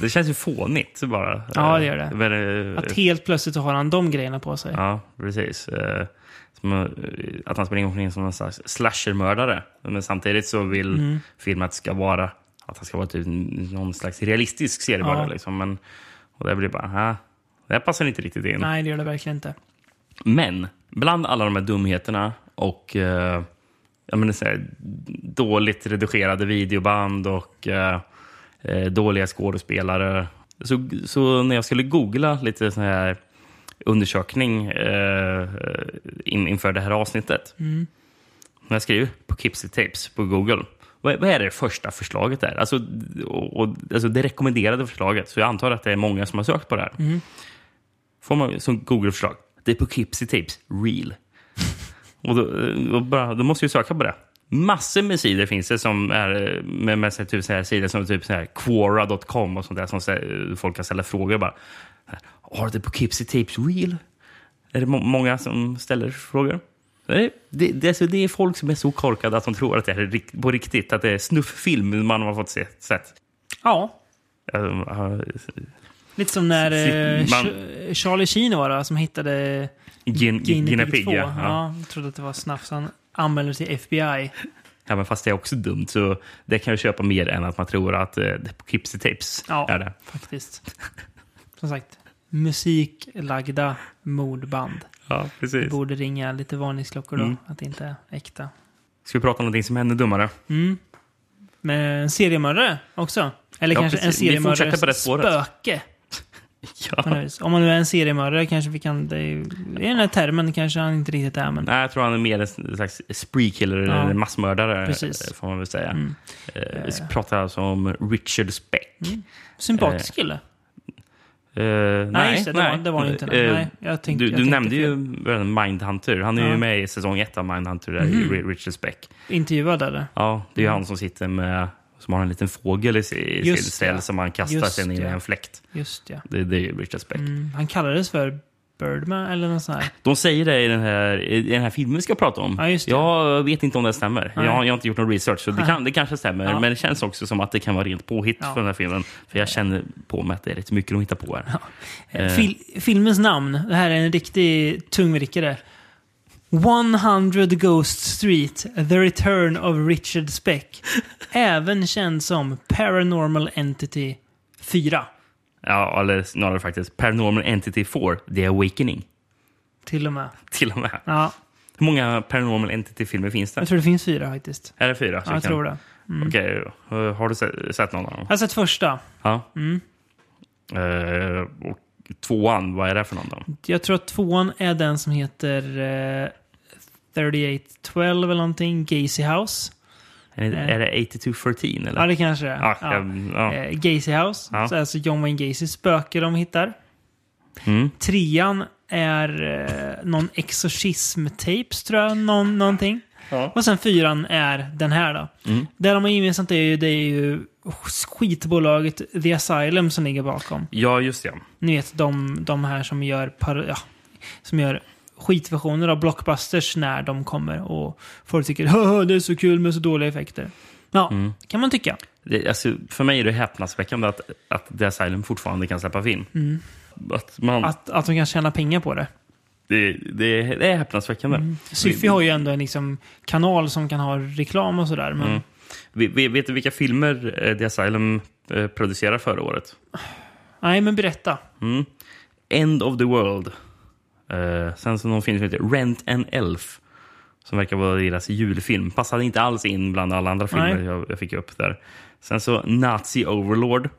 S2: Det känns ju fånigt bara.
S1: <laughs> Ja,
S2: Eh,
S1: det gör det.
S2: Men, eh,
S1: Att helt plötsligt så har han de grejerna på sig.
S2: Ja, precis. Eh, Som, eh, att han springer omkring som någon slags slashermördare. Men samtidigt så vill
S1: Mm.
S2: filmen att det ska vara att han ska vara typ någon slags realistisk seriemördare.
S1: Ja.
S2: Liksom. Men, och det blir bara, "Hä? det här passar inte riktigt in.
S1: Nej, det gör det verkligen inte.
S2: Men bland alla de här dumheterna och eh, jag menar, så här, dåligt redigerade videoband och eh, eh, dåliga skådespelare. Så, så när jag skulle googla lite sån här undersökning eh, in, inför det här avsnittet. När jag skriver Poughkeepsie Tapes på Google. Vad, vad är det första förslaget där? Alltså, och, och, alltså det rekommenderade förslaget. Så jag antar att det är många som har sökt på det här får man som Google-förslag. Det är Poughkeepsie Tapes Real. och då, då, bara, då måste jag söka på det. Massor med sidor finns det som är eh, med, med så här, typ så här sidor som typ så här Quora.com och sånt där som så här, eh, folk kan ställa frågor bara. Are the Poughkeepsie Tapes real? Är det må många som ställer frågor? Nej, Det, det, alltså, det är folk som är så korkade att de tror att det här är rikt på riktigt. Att det är snufffilm man har fått se. Sett.
S1: Ja,
S2: Eh, eh,
S1: lite som när eh,
S2: Sitt- man-
S1: Ch- Charlie Sheen var det, som hittade
S2: Gin- Guinea
S1: Guinea
S2: Pig.
S1: Pig 2.
S2: ja. Ja.
S1: Ja, jag trodde att det var snaps. Han anmälde sig till FBI.
S2: Ja, men fast det är också dumt, så det kan jag köpa mer än att man tror att eh, det är Poughkeepsie Tapes.
S1: Ja,
S2: Är det.
S1: faktiskt. Som sagt, musiklagda mordband.
S2: ja precis. Mm.
S1: Borde ringa lite varningsklockor då, att det inte är äkta.
S2: Ska vi prata om någonting som är
S1: <laughs>
S2: ännu dummare?
S1: Men en seriemördare också. Eller
S2: Ja,
S1: kanske en
S2: precis. Vi fortsätter på det
S1: seriemördares
S2: spåret.
S1: spöke. på något
S2: Ja.
S1: vis. Om man nu är en seriemördare kanske vi kan... Det är, ju- I den här termen kanske han inte riktigt är, men...
S2: Nej, jag tror han är mer en slags spree killer
S1: Ja.
S2: eller massmördare,
S1: Precis. Mm.
S2: eh, får man väl säga. Eh, vi pratar alltså om Richard Speck.
S1: Sympatisk kille.
S2: Eh, nej,
S1: Mm. Nej, just det, det var- det var ju inte det.
S2: Eh,
S1: Nej, jag tänkte-
S2: du
S1: jag
S2: du
S1: tänkte
S2: nämnde ju redan Mindhunter. Han är
S1: Ja. Mhm.
S2: ju med i säsong ett av Mindhunter, där, Ri- Richard Speck.
S1: Intervjuad eller?
S2: Ja, det är ju han som sitter med, som har en liten fågel i sin i sin
S1: Mm. Just
S2: ställ
S1: det.
S2: som han kastar
S1: Just
S2: sen in i
S1: det.
S2: en fläkt.
S1: Just ja.
S2: Det, det är ju Richard Speck.
S1: Mm, Han kallades för Birdman eller något sånt här.
S2: De säger det i den här, i den här filmen vi ska prata om.
S1: Ja, just det.
S2: Jag vet inte om det stämmer.
S1: Nej.
S2: Jag, har- jag har inte gjort någon research, så det, kan, det kanske stämmer.
S1: Ja.
S2: Men det känns också som att det kan vara rent påhitt
S1: Ja.
S2: för den här filmen. För jag känner på mig att det är rätt mycket de hittar på här. Eh.
S1: Fil- filmens namn, det här är en riktig tungvrickare. 100 Ghost Street, The Return of Richard Speck. Även känd som Paranormal Entity 4.
S2: Ja, eller snarare faktiskt Paranormal Entity 4, The Awakening.
S1: Till och med.
S2: Till och med.
S1: Ja,
S2: Hur många Paranormal Entity-filmer finns det?
S1: jag tror det finns fyra faktiskt.
S2: Är det fyra?
S1: Ja, jag tror det. Mm.
S2: Okej, eh, har du se- sett någon av dem?
S1: Mm. Jag har sett första.
S2: Ja. Eh, och tvåan, vad är det för någon då?
S1: Jag tror att tvåan är den som heter eh, 3812 eller någonting, Gacy House.
S2: Är, det- är det 8213 eller?
S1: Ja, det kanske det är.
S2: Ja,
S1: Ja.
S2: jag- ja.
S1: Eh, Gacy House.
S2: Ja.
S1: Så alltså John Wayne Gacys spöke de hittar.
S2: Mm.
S1: Trean är eh, någon exorcism-tapes, tror jag. Någon, någonting. Och sen fyran är den här då.
S2: Mm.
S1: Det de har gemensamt är ju, det är ju skitbolaget The Asylum som ligger bakom.
S2: Ja, just det.
S1: Ni vet de, de här som gör, par, ja, som gör skitversioner av blockbusters när de kommer och folk tycker Haha, det är så kul med så dåliga effekter. Ja,
S2: Mm.
S1: kan man tycka.
S2: det, alltså, för mig är det häpnadsväckande att, att The Asylum fortfarande kan släppa film. Att man,
S1: Att, att de kan tjäna pengar på det.
S2: det, det, det är häpnadsväckande.
S1: Syfy har ju ändå en liksom, kanal som kan ha reklam och sådär. Men
S2: Mm. Vi, vi, vet du vilka filmer eh, The Asylum eh, producerade förra året?
S1: nej, men berätta.
S2: End of the World. Eh, sen så någon film som heter Rent an Elf. Som verkar vara deras julfilm. Passade inte alls in bland alla andra filmer
S1: Nej.
S2: jag, jag fick upp där. Sen så Nazi Overlord.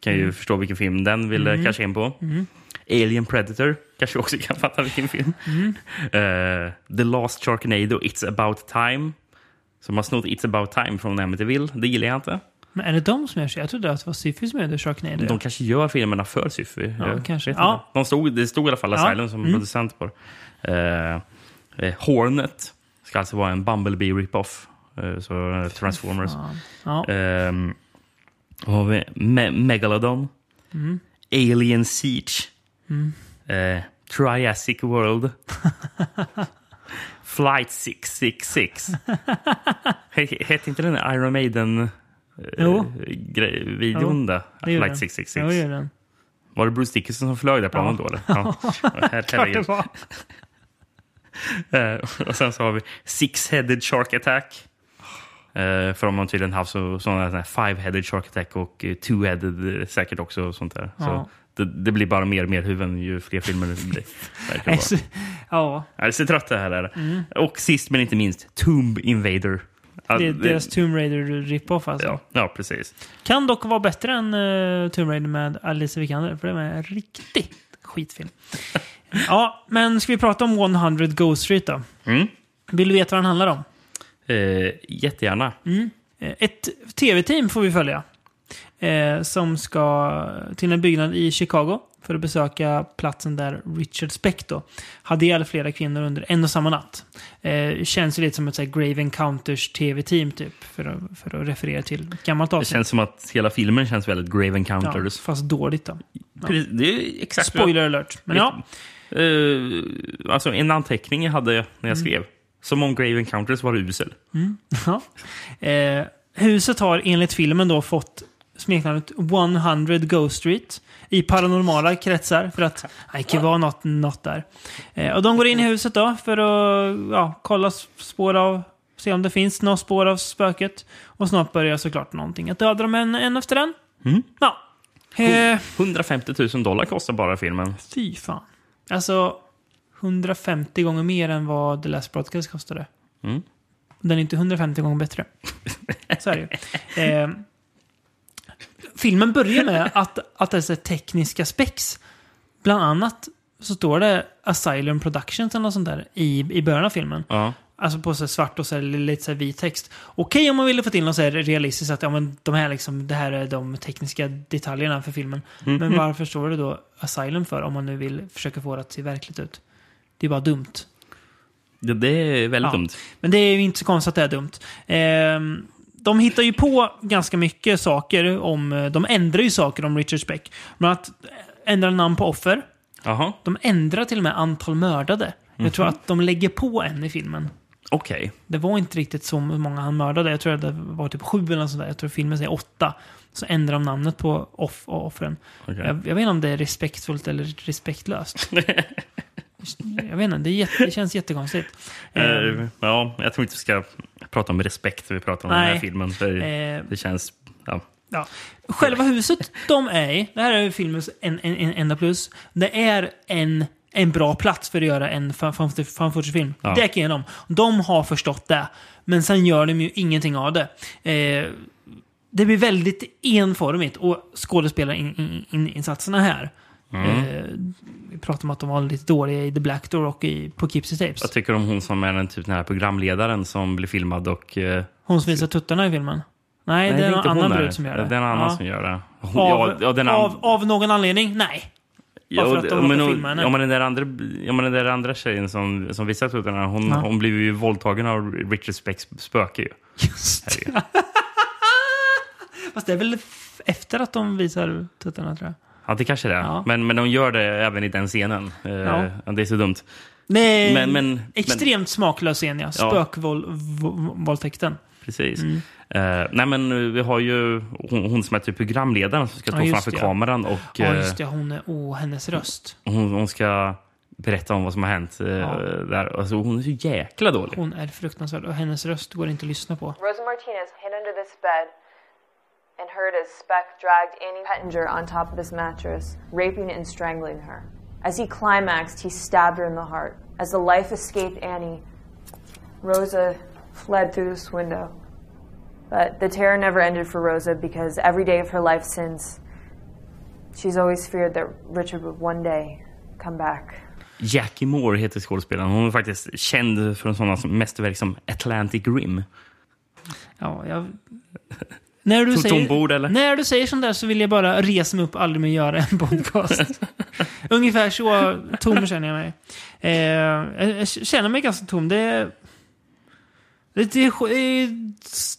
S2: Kan
S1: Mm.
S2: ju förstå vilken film den ville casha in på. Alien Predator. Kanske också kan fatta vilken film.
S1: Mm.
S2: Eh, The Last Sharknado, It's about time. Som har snott It's about time från Amityville. Det gillar jag inte.
S1: Men är det de som gör så? Jag trodde att det var Syfy som gjorde Sharknado.
S2: De kanske gör filmerna för Syfy.
S1: Ja,
S2: Jag
S1: kanske.
S2: vet
S1: Ja. Mm.
S2: inte. De stod, det stod i alla fall Asylum som producent på det. Eh, eh, Hornet ska alltså vara en Bumblebee rip-off. Eh, så eh, Transformers.
S1: Ja.
S2: Ehm, vad har vi? Me Megalodon.
S1: Mm.
S2: Alien Siege. Eh,
S1: <laughs>
S2: Triassic World.
S1: <laughs>
S2: Flight 666. He- Hette inte den Iron Maiden Eh,
S1: Jo.
S2: grej, videon
S1: Jo,
S2: där?
S1: det gjorde
S2: Flight
S1: den.
S2: 666.
S1: Jo, det gjorde den.
S2: Var det Bruce Dickinson som flög det planet då? Eller? Ja.
S1: <laughs> Klart
S2: Her-
S1: <laughs>
S2: herregud.
S1: det var.
S2: Eh, och sen så har vi Six-Headed Shark Attack. Eh, för de har tydligen haft så, sådana här Five-Headed Shark Attack och eh, Two-Headed eh, säkert också. Och sånt där. Så
S1: Ja.
S2: det, det blir bara mer och mer huvuden ju fler filmer det
S1: <laughs>
S2: blir. Verkar vara.
S1: Nej, så- Ja,
S2: Ja, det ser trött det här är.
S1: Mm.
S2: Och sist men inte minst, Tomb Invader. Ja,
S1: det är
S2: det-
S1: deras Tomb Raider rip-off alltså.
S2: ja, ja, precis.
S1: Kan dock vara bättre än uh, Tomb Raider med Alice Vikander, för det var en riktig
S2: <laughs>
S1: skitfilm. ja, men ska vi prata om 100 Go Street då?
S2: Mm.
S1: Vill du veta vad den handlar om?
S2: Eh, jättegärna.
S1: Eh, Ett tv-team får vi följa. Eh, som ska till en byggnad i Chicago för att besöka platsen där Richard Spector hade ihjäl flera kvinnor under en och samma natt. Eh, känns ju lite som ett så här, Grave Encounters tv-team typ, för att, för att referera till ett gammalt
S2: Det
S1: avsnitt.
S2: känns som att hela filmen känns väldigt Grave
S1: ja,
S2: Encounters.
S1: fast dåligt då.
S2: Precis, Det är exakt vad-
S1: Spoiler alert. Men ja,
S2: Eh, alltså en anteckning jag hade när
S1: Mm.
S2: jag skrev. Som om Grave Encounters var usel.
S1: Ja. Eh, huset har enligt filmen då fått smeknamnet 100 Ghost Street i paranormala kretsar för att nej, det kan vara något, något där. Eh, och de går in i huset då för att ja, kolla s- spår av, se om det finns några spår av spöket. Och snart börjar såklart någonting att döda dem en, en efter en. Ja. Eh,
S2: 150 000 dollar kostar bara filmen.
S1: fy fan. Alltså 150 gånger mer än vad The Last Broadcast kostade.
S2: Mm.
S1: Den är inte 150 gånger bättre. Så är det ju. eh, Filmen börjar med att, att det är så här tekniska spex. Bland annat så står det Asylum Productions eller något sånt där i, i början av filmen.
S2: Ja.
S1: Alltså på så här svart och så här, lite så här vit text. Okej om man ville få till något så här realistiskt, att ja, men de här liksom, det här är de tekniska detaljerna för filmen. Men varför står det då Asylum för om man nu vill försöka få det att se verkligt ut? Det är bara dumt.
S2: Det, det är väldigt
S1: Ja.
S2: dumt.
S1: Men det är ju inte så konstigt att det är dumt. Ehm, de hittar ju på ganska mycket saker om... De ändrar ju saker om Richard Speck. Bland annat ändrar namn på offer.
S2: Jaha,
S1: De ändrar till och med antal mördade. Jag tror att de lägger på en i filmen.
S2: okej.
S1: Det var inte riktigt så många han mördade. Jag tror att det var typ sju eller något sånt där. Jag tror filmen säger åtta. Så ändrar de namnet på off och offren.
S2: Okej.
S1: Jag, jag vet inte om det är respektfullt eller respektlöst. jag vet inte, det, är jätte, det känns jättekonstigt. Ehm,
S2: Eh, ja, jag tror inte vi ska prata om respekt när vi pratar om den här
S1: Nej.
S2: filmen. För
S1: Eh.
S2: Det känns... Ja.
S1: Ja. Själva huset de är i, det här är ju filmens en, en, en, enda plus, det är en, en bra plats för att göra en fan- fan- fanfootage-film.
S2: Ja.
S1: Det kan jag dem. De har förstått det, men sen gör de ju ingenting av det. Eh, det blir väldigt enformigt och skådespelarinsatserna in, in, in, insatserna här
S2: Mm.
S1: Eh, vi pratade om att de var lite dåliga i The Black Door och i Poughkeepsie Tapes.
S2: Vad tycker du om hon som är den, typ, den här programledaren som blir filmad och... eh,
S1: Hon som visar tuttarna i filmen. Nej, det är
S2: inte
S1: någon
S2: hon
S1: annan
S2: där.
S1: brud som gör det.
S2: Det är en annan
S1: Ja.
S2: som gör det. Hon,
S1: Av,
S2: ja, ja, den an-
S1: av, av någon anledning? Nej.
S2: ja,
S1: för att de
S2: ja,
S1: råkar
S2: men hon-
S1: filma henne.
S2: ja, men den där andra, ja, men den där andra tjejen som, som visar tuttarna, hon,
S1: Ja.
S2: hon blev ju våldtagen av Richard Specks spöke ju.
S1: Just det. Fast det är väl f- efter att de visar tuttarna tror jag.
S2: Ja, det kanske det är.
S1: Ja.
S2: Men, men de gör det även i den scenen. Eh,
S1: Ja.
S2: ja, Det är så dumt.
S1: Nej,
S2: Men- men-
S1: extremt smaklös scen ja. Spökvåldtäkten.
S2: Precis.
S1: Mm.
S2: Eh, nej, men eh, vi har ju hon, hon som är typ programledaren som ska
S1: Ja,
S2: stå
S1: just
S2: framför
S1: det, ja.
S2: kameran och
S1: Ja,
S2: eh,
S1: just det. Hon är, åh, hennes röst.
S2: hon, hon ska berätta om vad som har hänt. eh, där. Alltså, hon är så jäkla dålig.
S1: Hon är fruktansvärd och hennes röst går inte att lyssna på.
S9: Rosa Martinez hid under this bed and heard as Speck dragged Annie Pettinger on top of this mattress, raping and strangling her. As he climaxed, he stabbed her in the heart. As the life escaped Annie, Rosa fled through this window. But the terror never ended for Rosa because every day of her life since, she's always feared that Richard would one day come back.
S2: Jackie Moore heter skådespelaren. Hon är faktiskt känd från sådana som mästerverk som Atlantic Rim.
S1: Ja,
S2: <laughs>
S1: jag... När du,
S2: Tog
S1: säger,
S2: tombord, eller?
S1: när du säger sånt där så vill jag bara resa mig upp och aldrig mer göra en
S2: <laughs>
S1: podcast. Ungefär så tom känner jag mig. Eh, jag- jag känner mig ganska tom. Det är, det är, sk- det är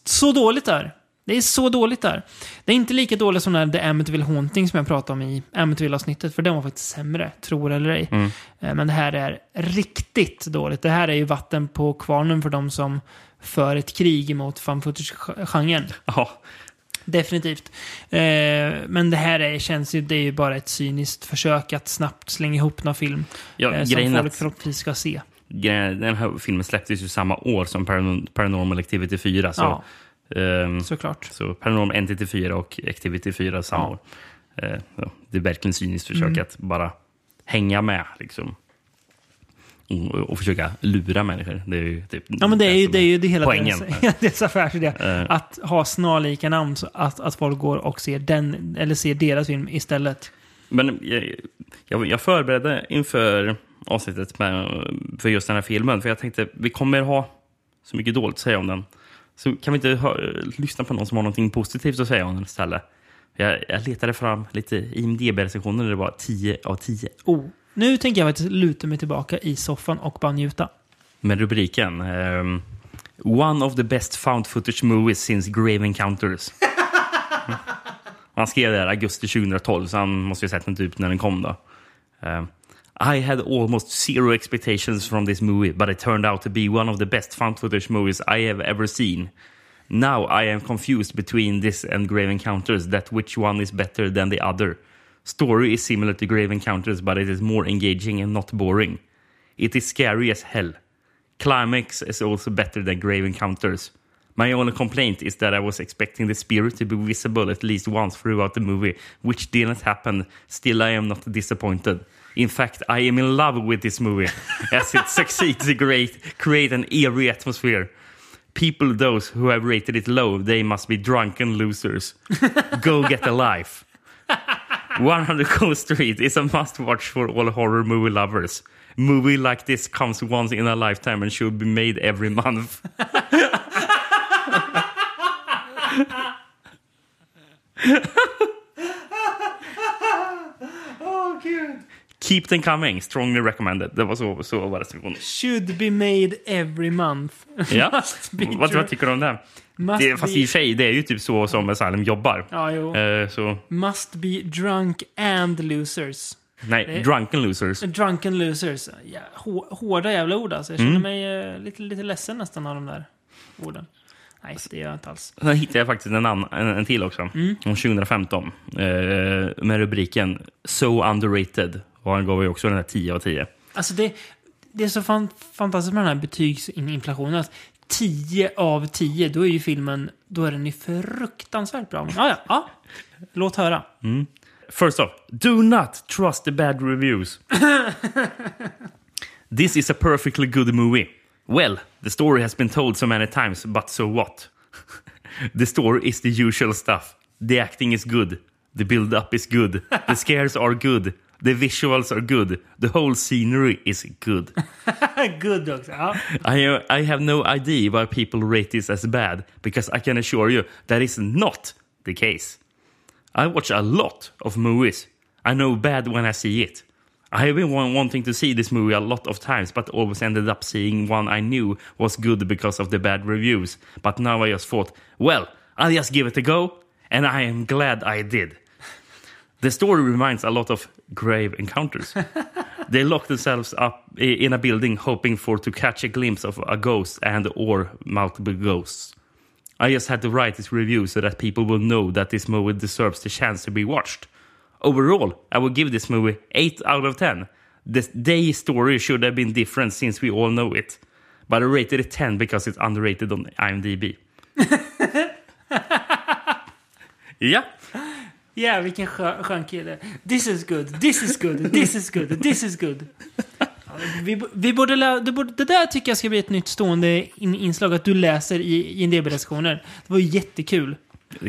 S1: så dåligt där. Det är så dåligt där. Det är inte lika dåligt som när The Amityville Haunting som jag pratade om i Amityville-avsnittet, för den var faktiskt sämre, tror eller ej.
S2: Mm.
S1: Eh, Men det här är riktigt dåligt. Det här är ju vatten på kvarnen för de som för ett krig mot fan footage-genren.
S2: Ja,
S1: Definitivt. Eh, men det här är, känns ju, det är ju bara ett cyniskt försök att snabbt slänga ihop någon film
S2: Ja,
S1: eh, som
S2: grejen är
S1: folk
S2: att-
S1: förhoppningsvis ska se.
S2: grejen- den här filmen släpptes ju samma år som Paran- Paranormal Activity 4. Så,
S1: Ja.
S2: ehm,
S1: Såklart.
S2: Så Paranormal Entity 4 och Activity 4 samma år. Eh, ja, det är verkligen cyniskt försök
S1: Mm.
S2: att bara hänga med. Liksom. Och, och försöka lura människor. Det är ju typ
S1: Ja, men det är ju
S2: som
S1: det, är ju det hela
S2: poängen.
S1: <laughs>
S2: Eh.
S1: deras, deras affärsidé. Att ha snarlika namn, så att, att folk går och ser, den, eller ser deras film istället.
S2: Men jag, jag, jag förberedde inför avsnittet med, för just den här filmen. För jag tänkte, vi kommer ha så mycket dåligt att säga om den. Så kan vi inte hö- lyssna på någon som har någonting positivt att säga om den istället? Jag, jag letade fram lite IMDB-recensioner där det var 10 av 10.
S1: Oh, nu tänker jag faktiskt luta mig tillbaka i soffan och bara njuta.
S2: med rubriken ehm, One of the best found footage movies since Grave Encounters. Mm. Han skrev det här augusti 2012, så han måste ju ha sett den typ när den kom. då. Ehm, I had almost zero expectations from this movie but it turned out to be one of the best found footage movies I have ever seen. Now I am confused between this and Grave Encounters, that which one is better than the other. Story is similar to Grave Encounters but it is more engaging and not boring. It is scary as hell. Climax is also better than Grave Encounters. My only complaint is that I was expecting the spirit to be visible at least once throughout the movie, which didn't happen. Still, I am not disappointed. In fact, I am in love with this movie, <laughs> as it succeeds to create, create an eerie atmosphere. People, those who have rated it low, they must be drunken losers. Go get a life. 100 Coast Street is a must watch for all horror movie lovers. Movie like this comes once in a lifetime and should be made every month.
S1: Oh,
S2: Keep them coming, strongly recommended. Det var så, så var recensionen.
S1: Should be made every month.
S2: Ja.
S1: <laughs> Must be
S2: vad,
S1: true.
S2: vad tycker du om det?
S1: Must
S2: det fast
S1: be-
S2: i och för sig, det är ju typ så som Asylum jobbar.
S1: Ja, Mm. jo.
S2: Eh, så,
S1: Must be drunk and losers.
S2: nej,
S1: det-
S2: drunken losers.
S1: Drunken losers. Ja, hå- hårda jävla ord alltså. Jag känner
S2: Mm.
S1: mig eh, lite, lite ledsen nästan av de där orden. Nej, det gör jag inte alls.
S2: Sen hittade jag faktiskt en, annan, en, en till också. Från 2015. Eh, med rubriken So underrated. Och han gav ju också den här 10 av 10.
S1: Alltså det, det är så fan, fantastiskt med den här betygsinflationen. Att 10 av 10, då är ju filmen då är den ju fruktansvärt bra. Ja, ja, ja. Låt höra.
S2: First off, do not trust the bad reviews. this is a perfectly good movie. Well, the story has been told so many times, but so what? <laughs> the story is the usual stuff. The acting is good. The build up is good. The scares are good. The visuals are good. The whole scenery is good.
S1: <laughs> Good också. Ja.
S2: I, I have no idea why people rate this as bad, because I can assure you that is not the case. I watch a lot of movies. I know bad when I see it. I have been wa- wanting to see this movie a lot of times, but always ended up seeing one I knew was good because of the bad reviews. But now I just thought, well, I'll just give it a go, and I am glad I did. The story reminds a lot of grave encounters. they lock themselves up i- in a building hoping for to catch a glimpse of a ghost and or multiple ghosts. I just had to write this review so that people will know that this movie deserves the chance to be watched. Overall, I would give this movie 8 out of 10. The day story should have been different since we all know it. But I rated it 10 because it's underrated on IMDb. yeah.
S1: Ja, vilken skö- skön kille. This is good, this is good, this is good, this is good. <laughs> Vi, bo- vi borde lä- det, borde, det där tycker jag ska bli ett nytt stående in, inslag, att du läser i IMDB-recensioner. Det var ju jättekul.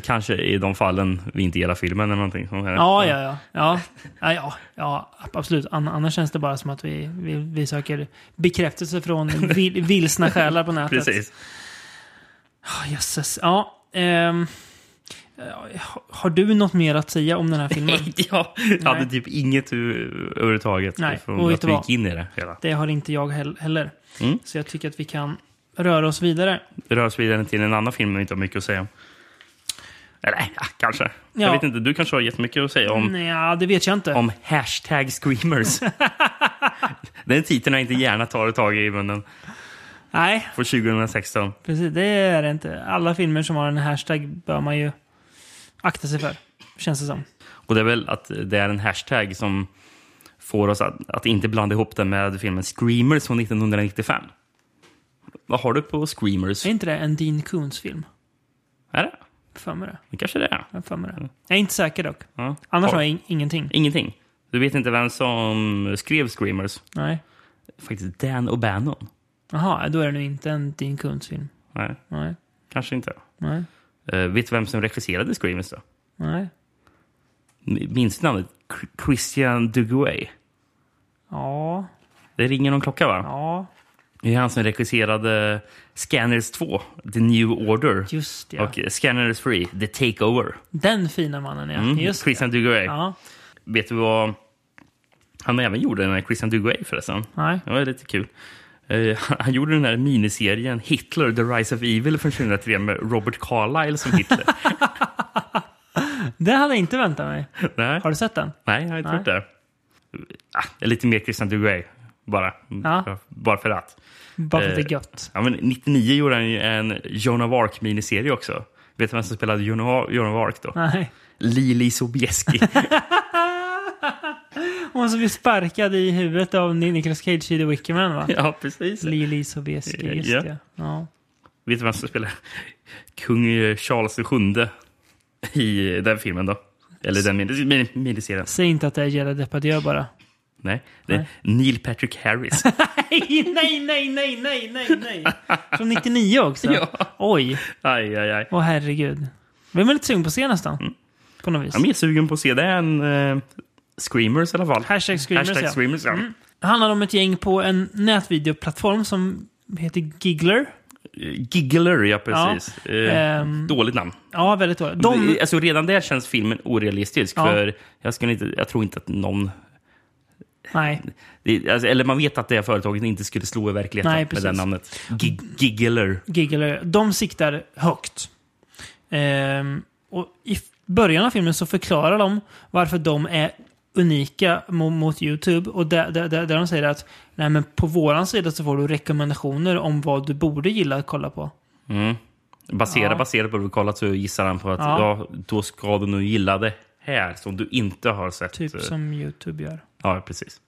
S2: Kanske i de fallen vi inte gillar filmen eller någonting. sånt här.
S1: Ja, ja, ja. Ja, ja, ja, ja absolut. An, annars känns det bara som att vi, vi, vi söker bekräftelse
S2: <laughs>
S1: från vil, vilsna själar på nätet.
S2: Precis.
S1: Oh, jösses. Ja, ehm, ja, har du något mer att säga om den här filmen?
S2: <laughs> Ja, jag hade typ inget hu- överhuvudtaget
S1: Nej,
S2: från
S1: och vet
S2: att
S1: du
S2: vi
S1: vad?
S2: gick in i det hela.
S1: Det har inte jag hell- heller.
S2: Mm.
S1: Så jag tycker att vi kan röra oss vidare.
S2: Det rör oss vidare till en annan film vi inte har mycket att säga om. Eller ja, kanske. Jag
S1: Ja.
S2: vet inte, du kanske har jättemycket att säga om,
S1: Nja, det vet jag inte.
S2: Mm. om
S1: <laughs>
S2: hashtag screamers. Den titeln jag inte gärna tar tag i munnen.
S1: Nej,
S2: Från 2016.
S1: precis. Det är det inte. Alla filmer som har en hashtag bör man ju akta sig för. Känns det som.
S2: Och det är väl att det är en hashtag som får oss att, att inte blanda ihop den med filmen Screamers från 1995. Vad har du på Screamers?
S1: Är inte det en Dean Koons-film?
S2: Är det?
S1: för mig det.
S2: Det kanske det är.
S1: Jag har för mig
S2: Mm.
S1: det. Jag är inte säker dock.
S2: Ja.
S1: Annars
S2: Har-
S1: har jag in- ingenting.
S2: Ingenting. Du vet inte vem som skrev Screamers?
S1: Nej.
S2: Faktiskt Dan O'Bannon.
S1: Jaha, då är det nu inte en Dean Koons-film.
S2: Nej,
S1: Nej.
S2: kanske inte.
S1: Nej.
S2: Eh, vet du vem som regisserade Screamers då?
S1: Nej.
S2: M- Minns du namnet? Chr- Christian Duguay.
S1: Ja.
S2: Det ringer någon klocka va?
S1: Ja.
S2: Det är han som regisserade Scanners 2, The New Order.
S1: Just det, ja.
S2: Och eh, Scanners 3, The Takeover.
S1: Den fina mannen, ja.
S2: Mm.
S1: Just det.
S2: Christian Duguay.
S1: Ja.
S2: Vet du vad han även gjorde den här Christian Duguay förresten?
S1: Nej.
S2: Det var lite kul. Eh, <laughs> han gjorde den här miniserien Hitler, The Rise of Evil från 2003 med Robert Carlyle
S1: <laughs>
S2: som Hitler.
S1: Det hade jag inte väntat mig.
S2: Nej.
S1: Har du sett den?
S2: Nej, jag har inte
S1: Nej.
S2: gjort det. Ah, lite mer Christian Duguay, bara.
S1: Ja.
S2: Bara för att.
S1: Bara för att det
S2: Eh,
S1: är gött.
S2: Ja, men 99 gjorde han ju en Joan of Arc-miniserie också. Vet du vem som spelade Joan of Joan of Arc då?
S1: Nej. <laughs>
S2: Lili Sobieski.
S1: Hon som blir sparkad i huvudet av Ni- Nicolas Cage i The Wickerman va?
S2: <laughs> ja, precis.
S1: Lili Sobieski, just
S2: Ja.
S1: det. Ja.
S2: Vet du vem som spelar kung eh, Charles VII i den filmen då? Eller den mini- mini- miniserien.
S1: Säg inte att det är Gerard Depardieu bara. <laughs>
S2: Nej, det är Neil Patrick Harris.
S1: Nej, nej, nej, nej, nej, nej, nej. Från 99 också?
S2: <laughs> Ja.
S1: Oj.
S2: aj, aj, aj.
S1: Åh herregud. Vi var lite sugen på att se nästan.
S2: Mm.
S1: På något vis.
S2: Jag är mer sugen på att se det än eh, Screamers i alla fall.
S1: Hashtag screamers,
S2: Hashtag
S1: ja. Mm.
S2: Screamers, ja.
S1: Det handlar om ett gäng på en nätvideoplattform som heter Giggler.
S2: Giggler, ja precis. Eh,
S1: Ehm.
S2: Dåligt namn.
S1: Ja, väldigt dåligt. De...
S2: Alltså, redan där känns filmen orealistisk.
S1: Ja.
S2: För jag, skulle inte, jag tror inte att någon...
S1: Nej,
S2: Det, alltså, eller man vet att det här företaget inte skulle slå i verkligheten
S1: Nej,
S2: med
S1: precis.
S2: det namnet. Gig, Giggler.
S1: Giggler. De siktar högt. Ehm, och I f- början av filmen så förklarar de varför de är unika mo- mot YouTube. Och där, där, där, där de säger att Nej, men på våran sida så får du rekommendationer om vad du borde gilla att kolla på.
S2: Basera, Baserat på vad du kollat så gissar han på att ja.
S1: Ja.
S2: då ska du nog gilla det här som du inte har sett.
S1: Typ som YouTube gör.
S2: Ja, precis.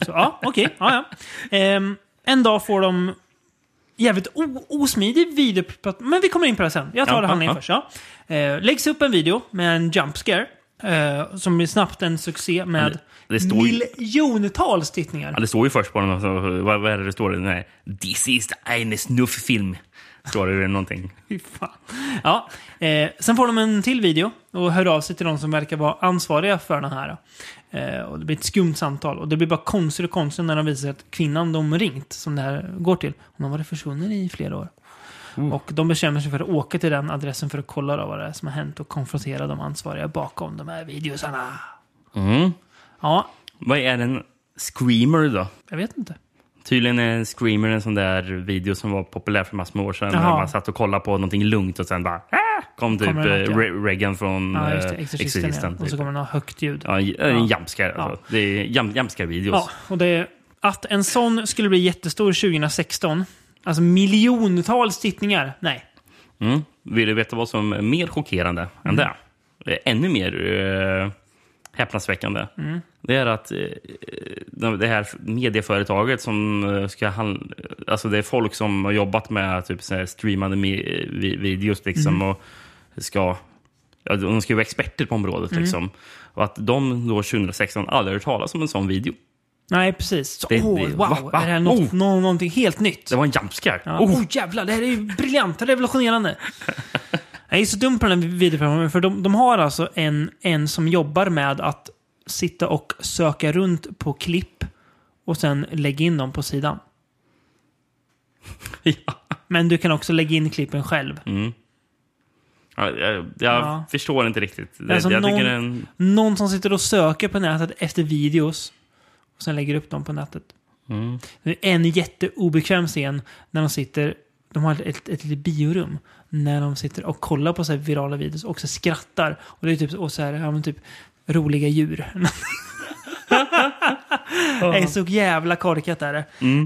S1: Så, ja, okej. ja, ja. Ehm, en dag får de jävligt o- osmidig video... Men vi kommer in på det sen. Jag tar
S2: Ja,
S1: det handlingen
S2: ja,
S1: först. Ja. Eh, läggs upp en video med en jump scare. eh, som blir snabbt en succé med
S2: det står ju-
S1: miljontals tittningar.
S2: Ja, det står ju först på den. Alltså, vad, vad är det det står? Den här, This is eine snufffilm. Står det någonting.
S1: Fy fan. Ja, eh, sen får de en till video och hör av sig till de som verkar vara ansvariga för den här. Eh, och det blir ett skumt samtal. Och det blir bara konstigare och konstigare när de visar att kvinnan de ringt, som det här går till, hon har varit försvunnen i flera år.
S2: Mm.
S1: Och de bestämmer sig för att åka till den adressen för att kolla då vad det är som har hänt och konfrontera de ansvariga bakom de här videosarna.
S2: Mm.
S1: Ja,
S2: Vad är en screamer då?
S1: jag vet inte.
S2: Tydligen är en screamer en sån där video som var populär för massor med år sedan. När
S1: Jaha.
S2: man satt och kollade på någonting lugnt och sen bara ah! kom typ
S1: Kommer det något,
S2: eh,
S1: ja.
S2: Re- Reagan från
S1: Ja,
S2: eh,
S1: just det. Exorcisten,
S2: Exorcisten.
S1: ja. Och så
S2: typ.
S1: kommer den ha högt ljud.
S2: Ja, en- en jumpscare. Alltså. Det är jump, jumpscare-videos.
S1: Ja, och det är att en sån skulle bli jättestor 2016. Alltså miljontals tittningar. Nej.
S2: Mm. Vill du veta vad som är mer chockerande
S1: Mm.
S2: än det? Eh, Ännu mer eh, häpnadsväckande.
S1: Mm.
S2: Det är att eh, de- det här medieföretaget som eh, ska handla... Alltså det är folk som har jobbat med typ så här streamande me- eh, vi- videos liksom
S1: Mm.
S2: och ska... Ja, de ska ju vara experter på området.
S1: Mm.
S2: Liksom. Och att de då 2016 aldrig hört talas om en sån video.
S1: Nej, precis. Så,
S2: Det-
S1: åh,
S2: det-
S1: wow.
S2: va? Va?
S1: Är det här något,
S2: Oh.
S1: nå- någonting helt nytt?
S2: Det var en jumpscare.
S1: Ja.
S2: Oh! <laughs>
S1: Oh. jävlar, det här är ju briljant, revolutionerande. Jag är så dum på den här videoprogrammen, för de, de har alltså en, en som jobbar med att sitta och söka runt på klipp och sen lägga in dem på sidan.
S2: Ja.
S1: Men du kan också lägga in klippen själv.
S2: Ja, jag jag
S1: Ja.
S2: förstår inte riktigt. Det,
S1: Alltså
S2: jag
S1: någon-
S2: tycker den...
S1: Någon som sitter och söker på nätet efter videos och sen lägger upp dem på nätet.
S2: Mm.
S1: Det är en jätteobekväm scen när de sitter, de har ett, ett, ett litet biorum, när de sitter och kollar på så här virala videos och så skrattar. Och det är typ, och så här, ja, men typ roliga djur. <laughs> det är så jävla korkat är det.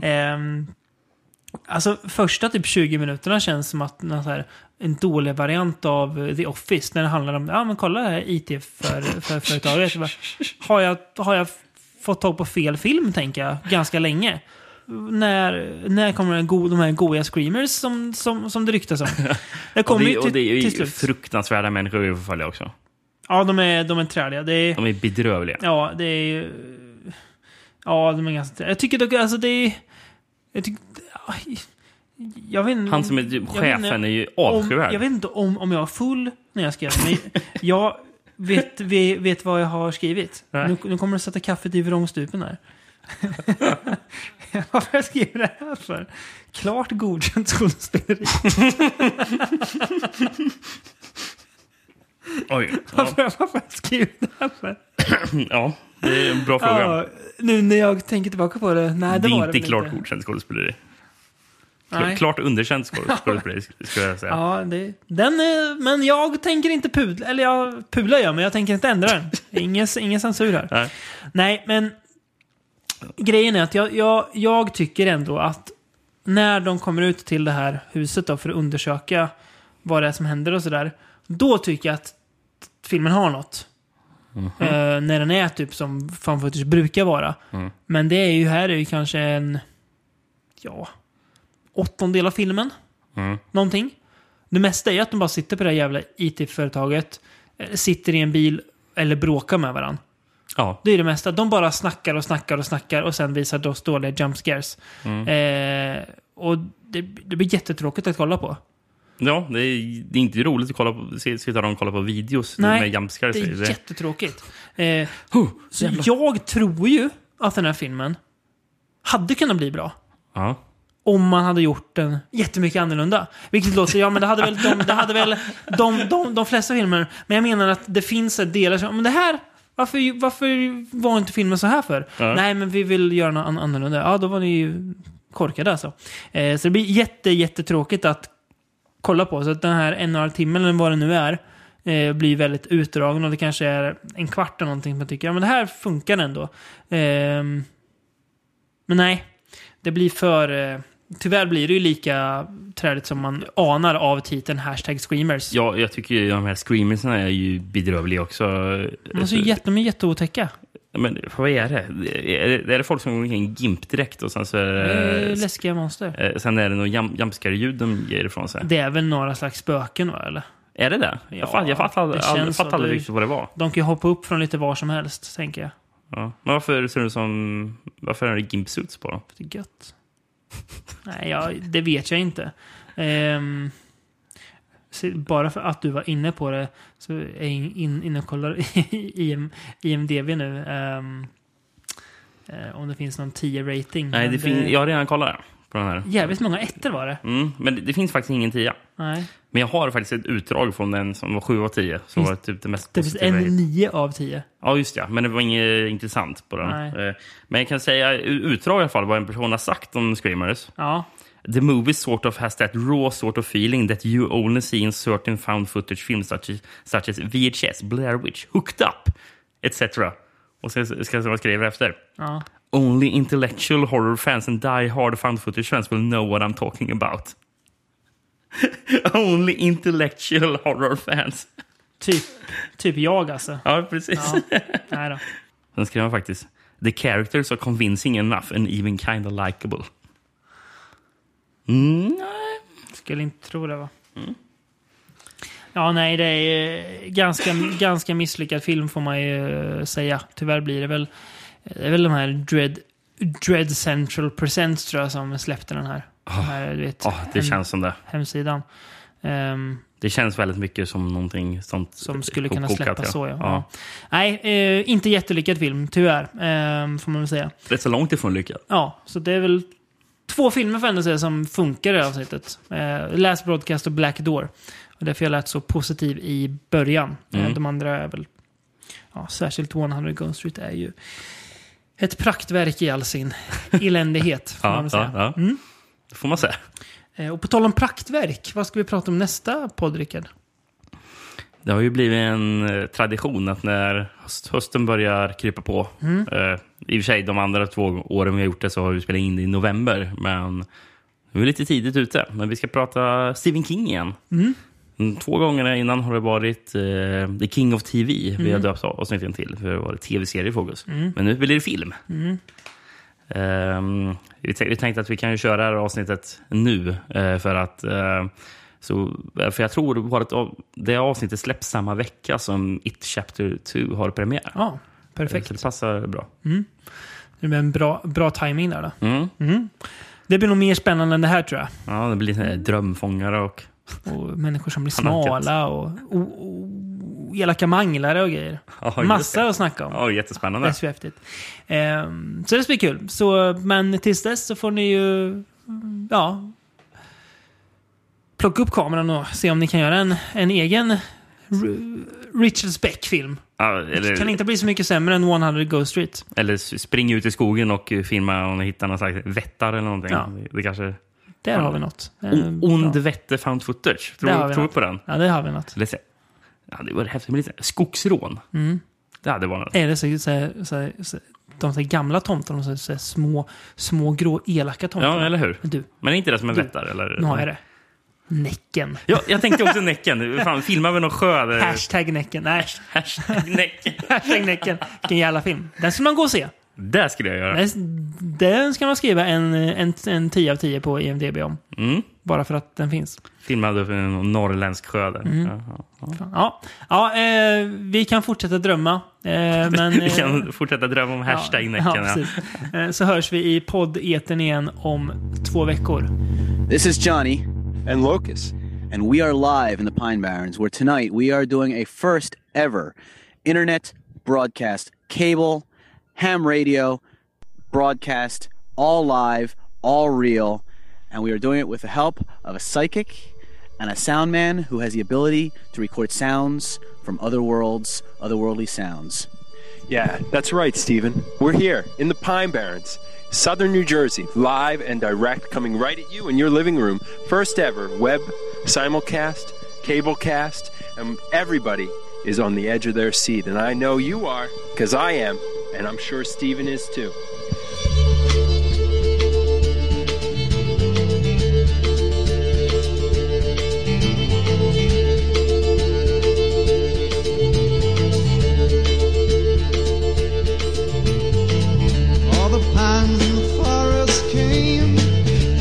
S1: Ehm, Alltså första typ 20 minuterna känns som att någon så här, en dålig variant av eh, The Office när det handlar om, ja men kolla det här IT-företaget. För, har, jag, har jag f- fått tag på fel film tänker jag, ganska länge. När, när kommer den go, de här goa screamers som, som, som det ryktas
S2: <laughs>
S1: om? Det
S2: Och
S1: kommer
S2: det,
S1: ju
S2: och
S1: till,
S2: det är
S1: till
S2: ju
S1: slut.
S2: fruktansvärda människor vi förföljer också.
S1: Ja, de är, de är träliga. Det är,
S2: De är bedrövliga.
S1: Ja, det är ju... Ja, de är ganska... Jag tycker dock alltså det är... Jag tycker... aj, Jag vet inte...
S2: Han som är typ
S1: jag vet
S2: chefen
S1: inte
S2: är ju
S1: om, Jag
S2: avskyvärd.
S1: vet inte om, om jag var full när jag skrev den. men jag vet, vet, vet vad jag har skrivit.
S2: Nej.
S1: Nu, nu kommer du sätta kaffet i vrångstupen här. <laughs> Varför har jag skrivit det här för? Klart godkänt skådespeleri.
S2: Oj. Ja.
S1: Varför, varför har jag skrivit det här för?
S2: ja, det är en bra fråga.
S1: Ja, nu när jag tänker tillbaka på det. Nej,
S2: det
S1: det, var det
S2: är inte
S1: väl
S2: klart
S1: inte.
S2: godkänt skådespeleri.
S1: Nej.
S2: Klart underkänt
S1: <laughs>
S2: skådes- skådespeleri sk- skulle jag säga.
S1: Ja, det, den är, men jag tänker inte pudla. Eller jag pular jag, men jag tänker inte ändra den. Ingen,
S2: <laughs>
S1: ingen censur här.
S2: Nej.
S1: Nej, men grejen är att jag, jag, jag tycker ändå att när de kommer ut till det här huset då för att undersöka vad det är som händer och sådär. Då tycker jag att filmen har något.
S2: Mhm.
S1: Eh, när den är typ som fan footage brukar vara.
S2: Mm.
S1: Men det är ju här är ju kanske en ja, åttondel av filmen.
S2: Mm.
S1: Någonting. Det mesta är ju att de bara sitter på det här jävla IT-företaget. eh, Sitter i en bil eller bråkar med varandra.
S2: Ja.
S1: Det är det mesta. De bara snackar och snackar och snackar och sen visar då dåliga jump scares. Eh, och det, det blir jättetråkigt att kolla på.
S2: ja, det är, det är inte roligt att kolla på, se- sitta där och kolla på videos med jumpscares.
S1: det är
S2: Det-
S1: jättetråkigt. Eh,
S2: Huh,
S1: så jag tror ju att den här filmen hade kunnat bli bra.
S2: Ja.
S1: om man hade gjort den jättemycket annorlunda. Vilket låter, ja men det hade väl de, det hade väl de, de, de flesta filmer. Men jag menar att det finns ett delar som, men det här, varför, varför var inte filmen så här för?
S2: Ja.
S1: Nej men vi vill göra något an- annorlunda. Ja då var ni ju korkade alltså. Eh, så det blir jätte, jättetråkigt att kolla på. Så att den här en och en halv timme eller vad det nu är eh, blir väldigt utdragen och det kanske är en kvart eller någonting som man tycker, ja men det här funkar ändå. Ehm, men nej, det blir för... Eh, tyvärr blir det ju lika träligt som man anar av titeln hashtag screamers.
S2: Ja, jag tycker ju de här screamersna är ju bedrövliga också.
S1: De är, så jätte, de är jätteotäcka.
S2: Men vad är det? Är det, är det folk som går omkring i en gimpdräkt och sen så är
S1: Det
S2: det...
S1: är läskiga monster.
S2: eh, sen är det nog jump- jumpscare-ljud de ger ifrån sig.
S1: Det är väl några slags spöken va, eller?
S2: Är det det? Jag fattar jag fatt,
S1: det
S2: aldrig,
S1: känns
S2: aldrig,
S1: så.
S2: fatt aldrig
S1: Det-
S2: riktigt vad det var.
S1: De kan ju hoppa upp från lite var som helst, tänker jag.
S2: Ja. Men varför ser du som... Varför är det gimpsuits på dem?
S1: För det är gött. nej, jag, det vet jag inte. Ehm, s- se- bara för att du var inne på det så är jag in, in, inne och kollar <laughs> i IM, IMDB nu. ehm, eh, om det finns någon 10-rating.
S2: Nej, det fin- jag har redan kollat på den här.
S1: eh, Jävligt många ettor var det.
S2: Mm, men det, det finns faktiskt ingen tia.
S1: Nej.
S2: Men jag har faktiskt ett utdrag från den som var 7 av 10. Som
S1: Finns-
S2: var typ det mest
S1: Det finns
S2: positiva.
S1: en
S2: jag-
S1: 9 av 10.
S2: Ja, just ja. Men det var inget intressant på den.
S1: Nej.
S2: Eh, Men jag kan säga u- utdrag i alla fall vad en person har sagt om Screamers.
S1: Ja.
S2: The movie sort of has that raw sort of feeling that you only see in certain found footage films such as, such as VHS, Blair Witch, Hooked Up, etc. Och sen ska jag se vad jag skriver efter.
S1: ja.
S2: Only intellectual horror fans and die hard found footage fans will know what I'm talking about. <laughs> Only intellectual horror fans.
S1: Typ, typ jag alltså.
S2: Ja, precis.
S1: Ja. Nej då.
S2: <laughs> Sen skrev han faktiskt The characters are convincing enough and even kind of likable. Mm, nej.
S1: Skulle inte tro det va? Ja, nej, det är eh, ganska, ganska misslyckad film får man ju eh, säga. Tyvärr blir det väl, det är väl de här Dread, Dread Central Presents tror jag som släppte den här. Oh. Den här du vet,
S2: Ja, det känns som det.
S1: hemsidan. Ehm,
S2: Det känns väldigt mycket som någonting sånt
S1: som skulle kunna
S2: kokat, Ah.
S1: släppas så ja. ja. Nej, eh, inte jättelyckad film, tyvärr. ehm, får man väl säga.
S2: Rätt så långt ifrån lyckad.
S1: Ja, så det är väl två filmer får jag ändå säga som funkar i det här avsnittet. Eh, Last Broadcast och Black Door. Och därför jag lät så positiv i början.
S2: Mm.
S1: Eh, de andra är väl... Ja, särskilt 100 Gone Street är ju ett praktverk i all
S2: <laughs>
S1: sin eländighet. får man
S2: Ja,
S1: väl
S2: ja,
S1: säga. Mm.
S2: ja. Det får man säga.
S1: Eh, och på tal om praktverk, vad ska vi prata om nästa podd, Rickard?
S2: Det har ju blivit en eh, tradition att när höst, hösten börjar krypa på.
S1: Mm.
S2: Eh, I och för sig, de andra två åren vi har gjort det så har vi spelat in det i november. Men vi är lite tidigt ute. Men vi ska prata Stephen King igen. Mm, Två gånger innan har det varit eh, The King of TV. Vi
S1: Mm.
S2: har döpt avsnitten till. För det var tv-serie i fokus. Men nu blir det film.
S1: Mm.
S2: Ehm, vi, tän- vi tänkte att vi kan ju köra det här avsnittet nu. eh, för att eh, så, eh, för jag tror vårt av, det avsnittet släpps samma vecka som It Chapter 2 har premiär.
S1: Ja, perfekt.
S2: Så det passar bra.
S1: Det blir en bra, bra timing där då.
S2: Mm.
S1: Det blir nog mer spännande än det här tror jag.
S2: Ja, det blir sån här drömfångare och...
S1: Och människor som blir
S2: Anarkist.
S1: smala och o- o- elaka manglare och grejer.
S2: <laughs> Ja, just
S1: Massa
S2: det.
S1: att snacka om.
S2: Ja, jättespännande.
S1: Det är så häftigt. Ehm, så det ska bli kul. Så, men tills dess så får ni ju... mm, Ja... Plocka upp kameran och se om ni kan göra en, en egen R- Richard Speck-film.
S2: Ja,
S1: Det kan
S2: eller,
S1: inte bli så mycket sämre än 100 Go Street.
S2: eller spring ut i skogen och filma om ni hittar någon slags vättar eller någonting.
S1: Ja.
S2: Det kanske...
S1: Där har vi något. Ehm,
S2: O- ond
S1: ja.
S2: vätte found footage.
S1: Där har
S2: Tror
S1: vi
S2: tror
S1: något.
S2: på den?
S1: Ja, det har vi något.
S2: Eller, se- ja, det vore häftigt med lite skogsrån.
S1: Mm.
S2: Det hade varit något.
S1: Är det så, så, här- så, här- så de så här gamla tomtarna, de så, här- så här små, små grå elaka tomtarna?
S2: Ja, eller hur?
S1: Men Du,
S2: Men är inte det som en
S1: Du,
S2: vättare? Eller?
S1: nu har jag det. Näcken.
S2: Ja, jag tänkte också Näcken. Fan, filmar vi någon sjö? Där...
S1: Hashtag Näcken. Nej,
S2: Hashtag <laughs> Näcken.
S1: <laughs> hashtag Näcken. Vilken jävla film. Den ska man gå och se.
S2: Det skulle jag göra.
S1: Den- Den ska man skriva en, en, en 10 av 10 på IMDB om.
S2: Mm.
S1: Bara för att den finns.
S2: Filmade för en norrländsk sjö där.
S1: Mm.
S2: Jaha.
S1: Ja, ja eh, vi kan fortsätta drömma. Eh, men,
S2: <laughs> Vi
S1: eh,
S2: kan fortsätta drömma om hashtag Näcken.
S1: ja,
S2: Ja,
S1: precis. Eh, Så hörs vi i podd-eten igen om två veckor.
S10: This is Johnny,
S4: And Locus.
S10: and we are live in the Pine Barrens, where tonight we are doing a first ever internet broadcast, cable, ham radio broadcast, all live, all real. And we are doing it with the help of a psychic and a sound man who has the ability to record sounds from other worlds, otherworldly sounds.
S4: Yeah, that's right, Stephen. We're here in the Pine Barrens, southern New Jersey, live and direct, coming right at you in your living room. First ever web, simulcast, cablecast, and everybody is on the edge of their seat. And I know you are, because I am, and I'm sure Stephen is too.
S6: All the pines and the forests came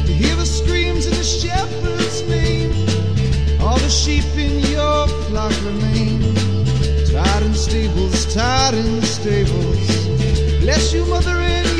S6: to hear the screams of the shepherd's name. All the sheep in your flock remain, tied in stables, tied in stables. Bless you, mother, and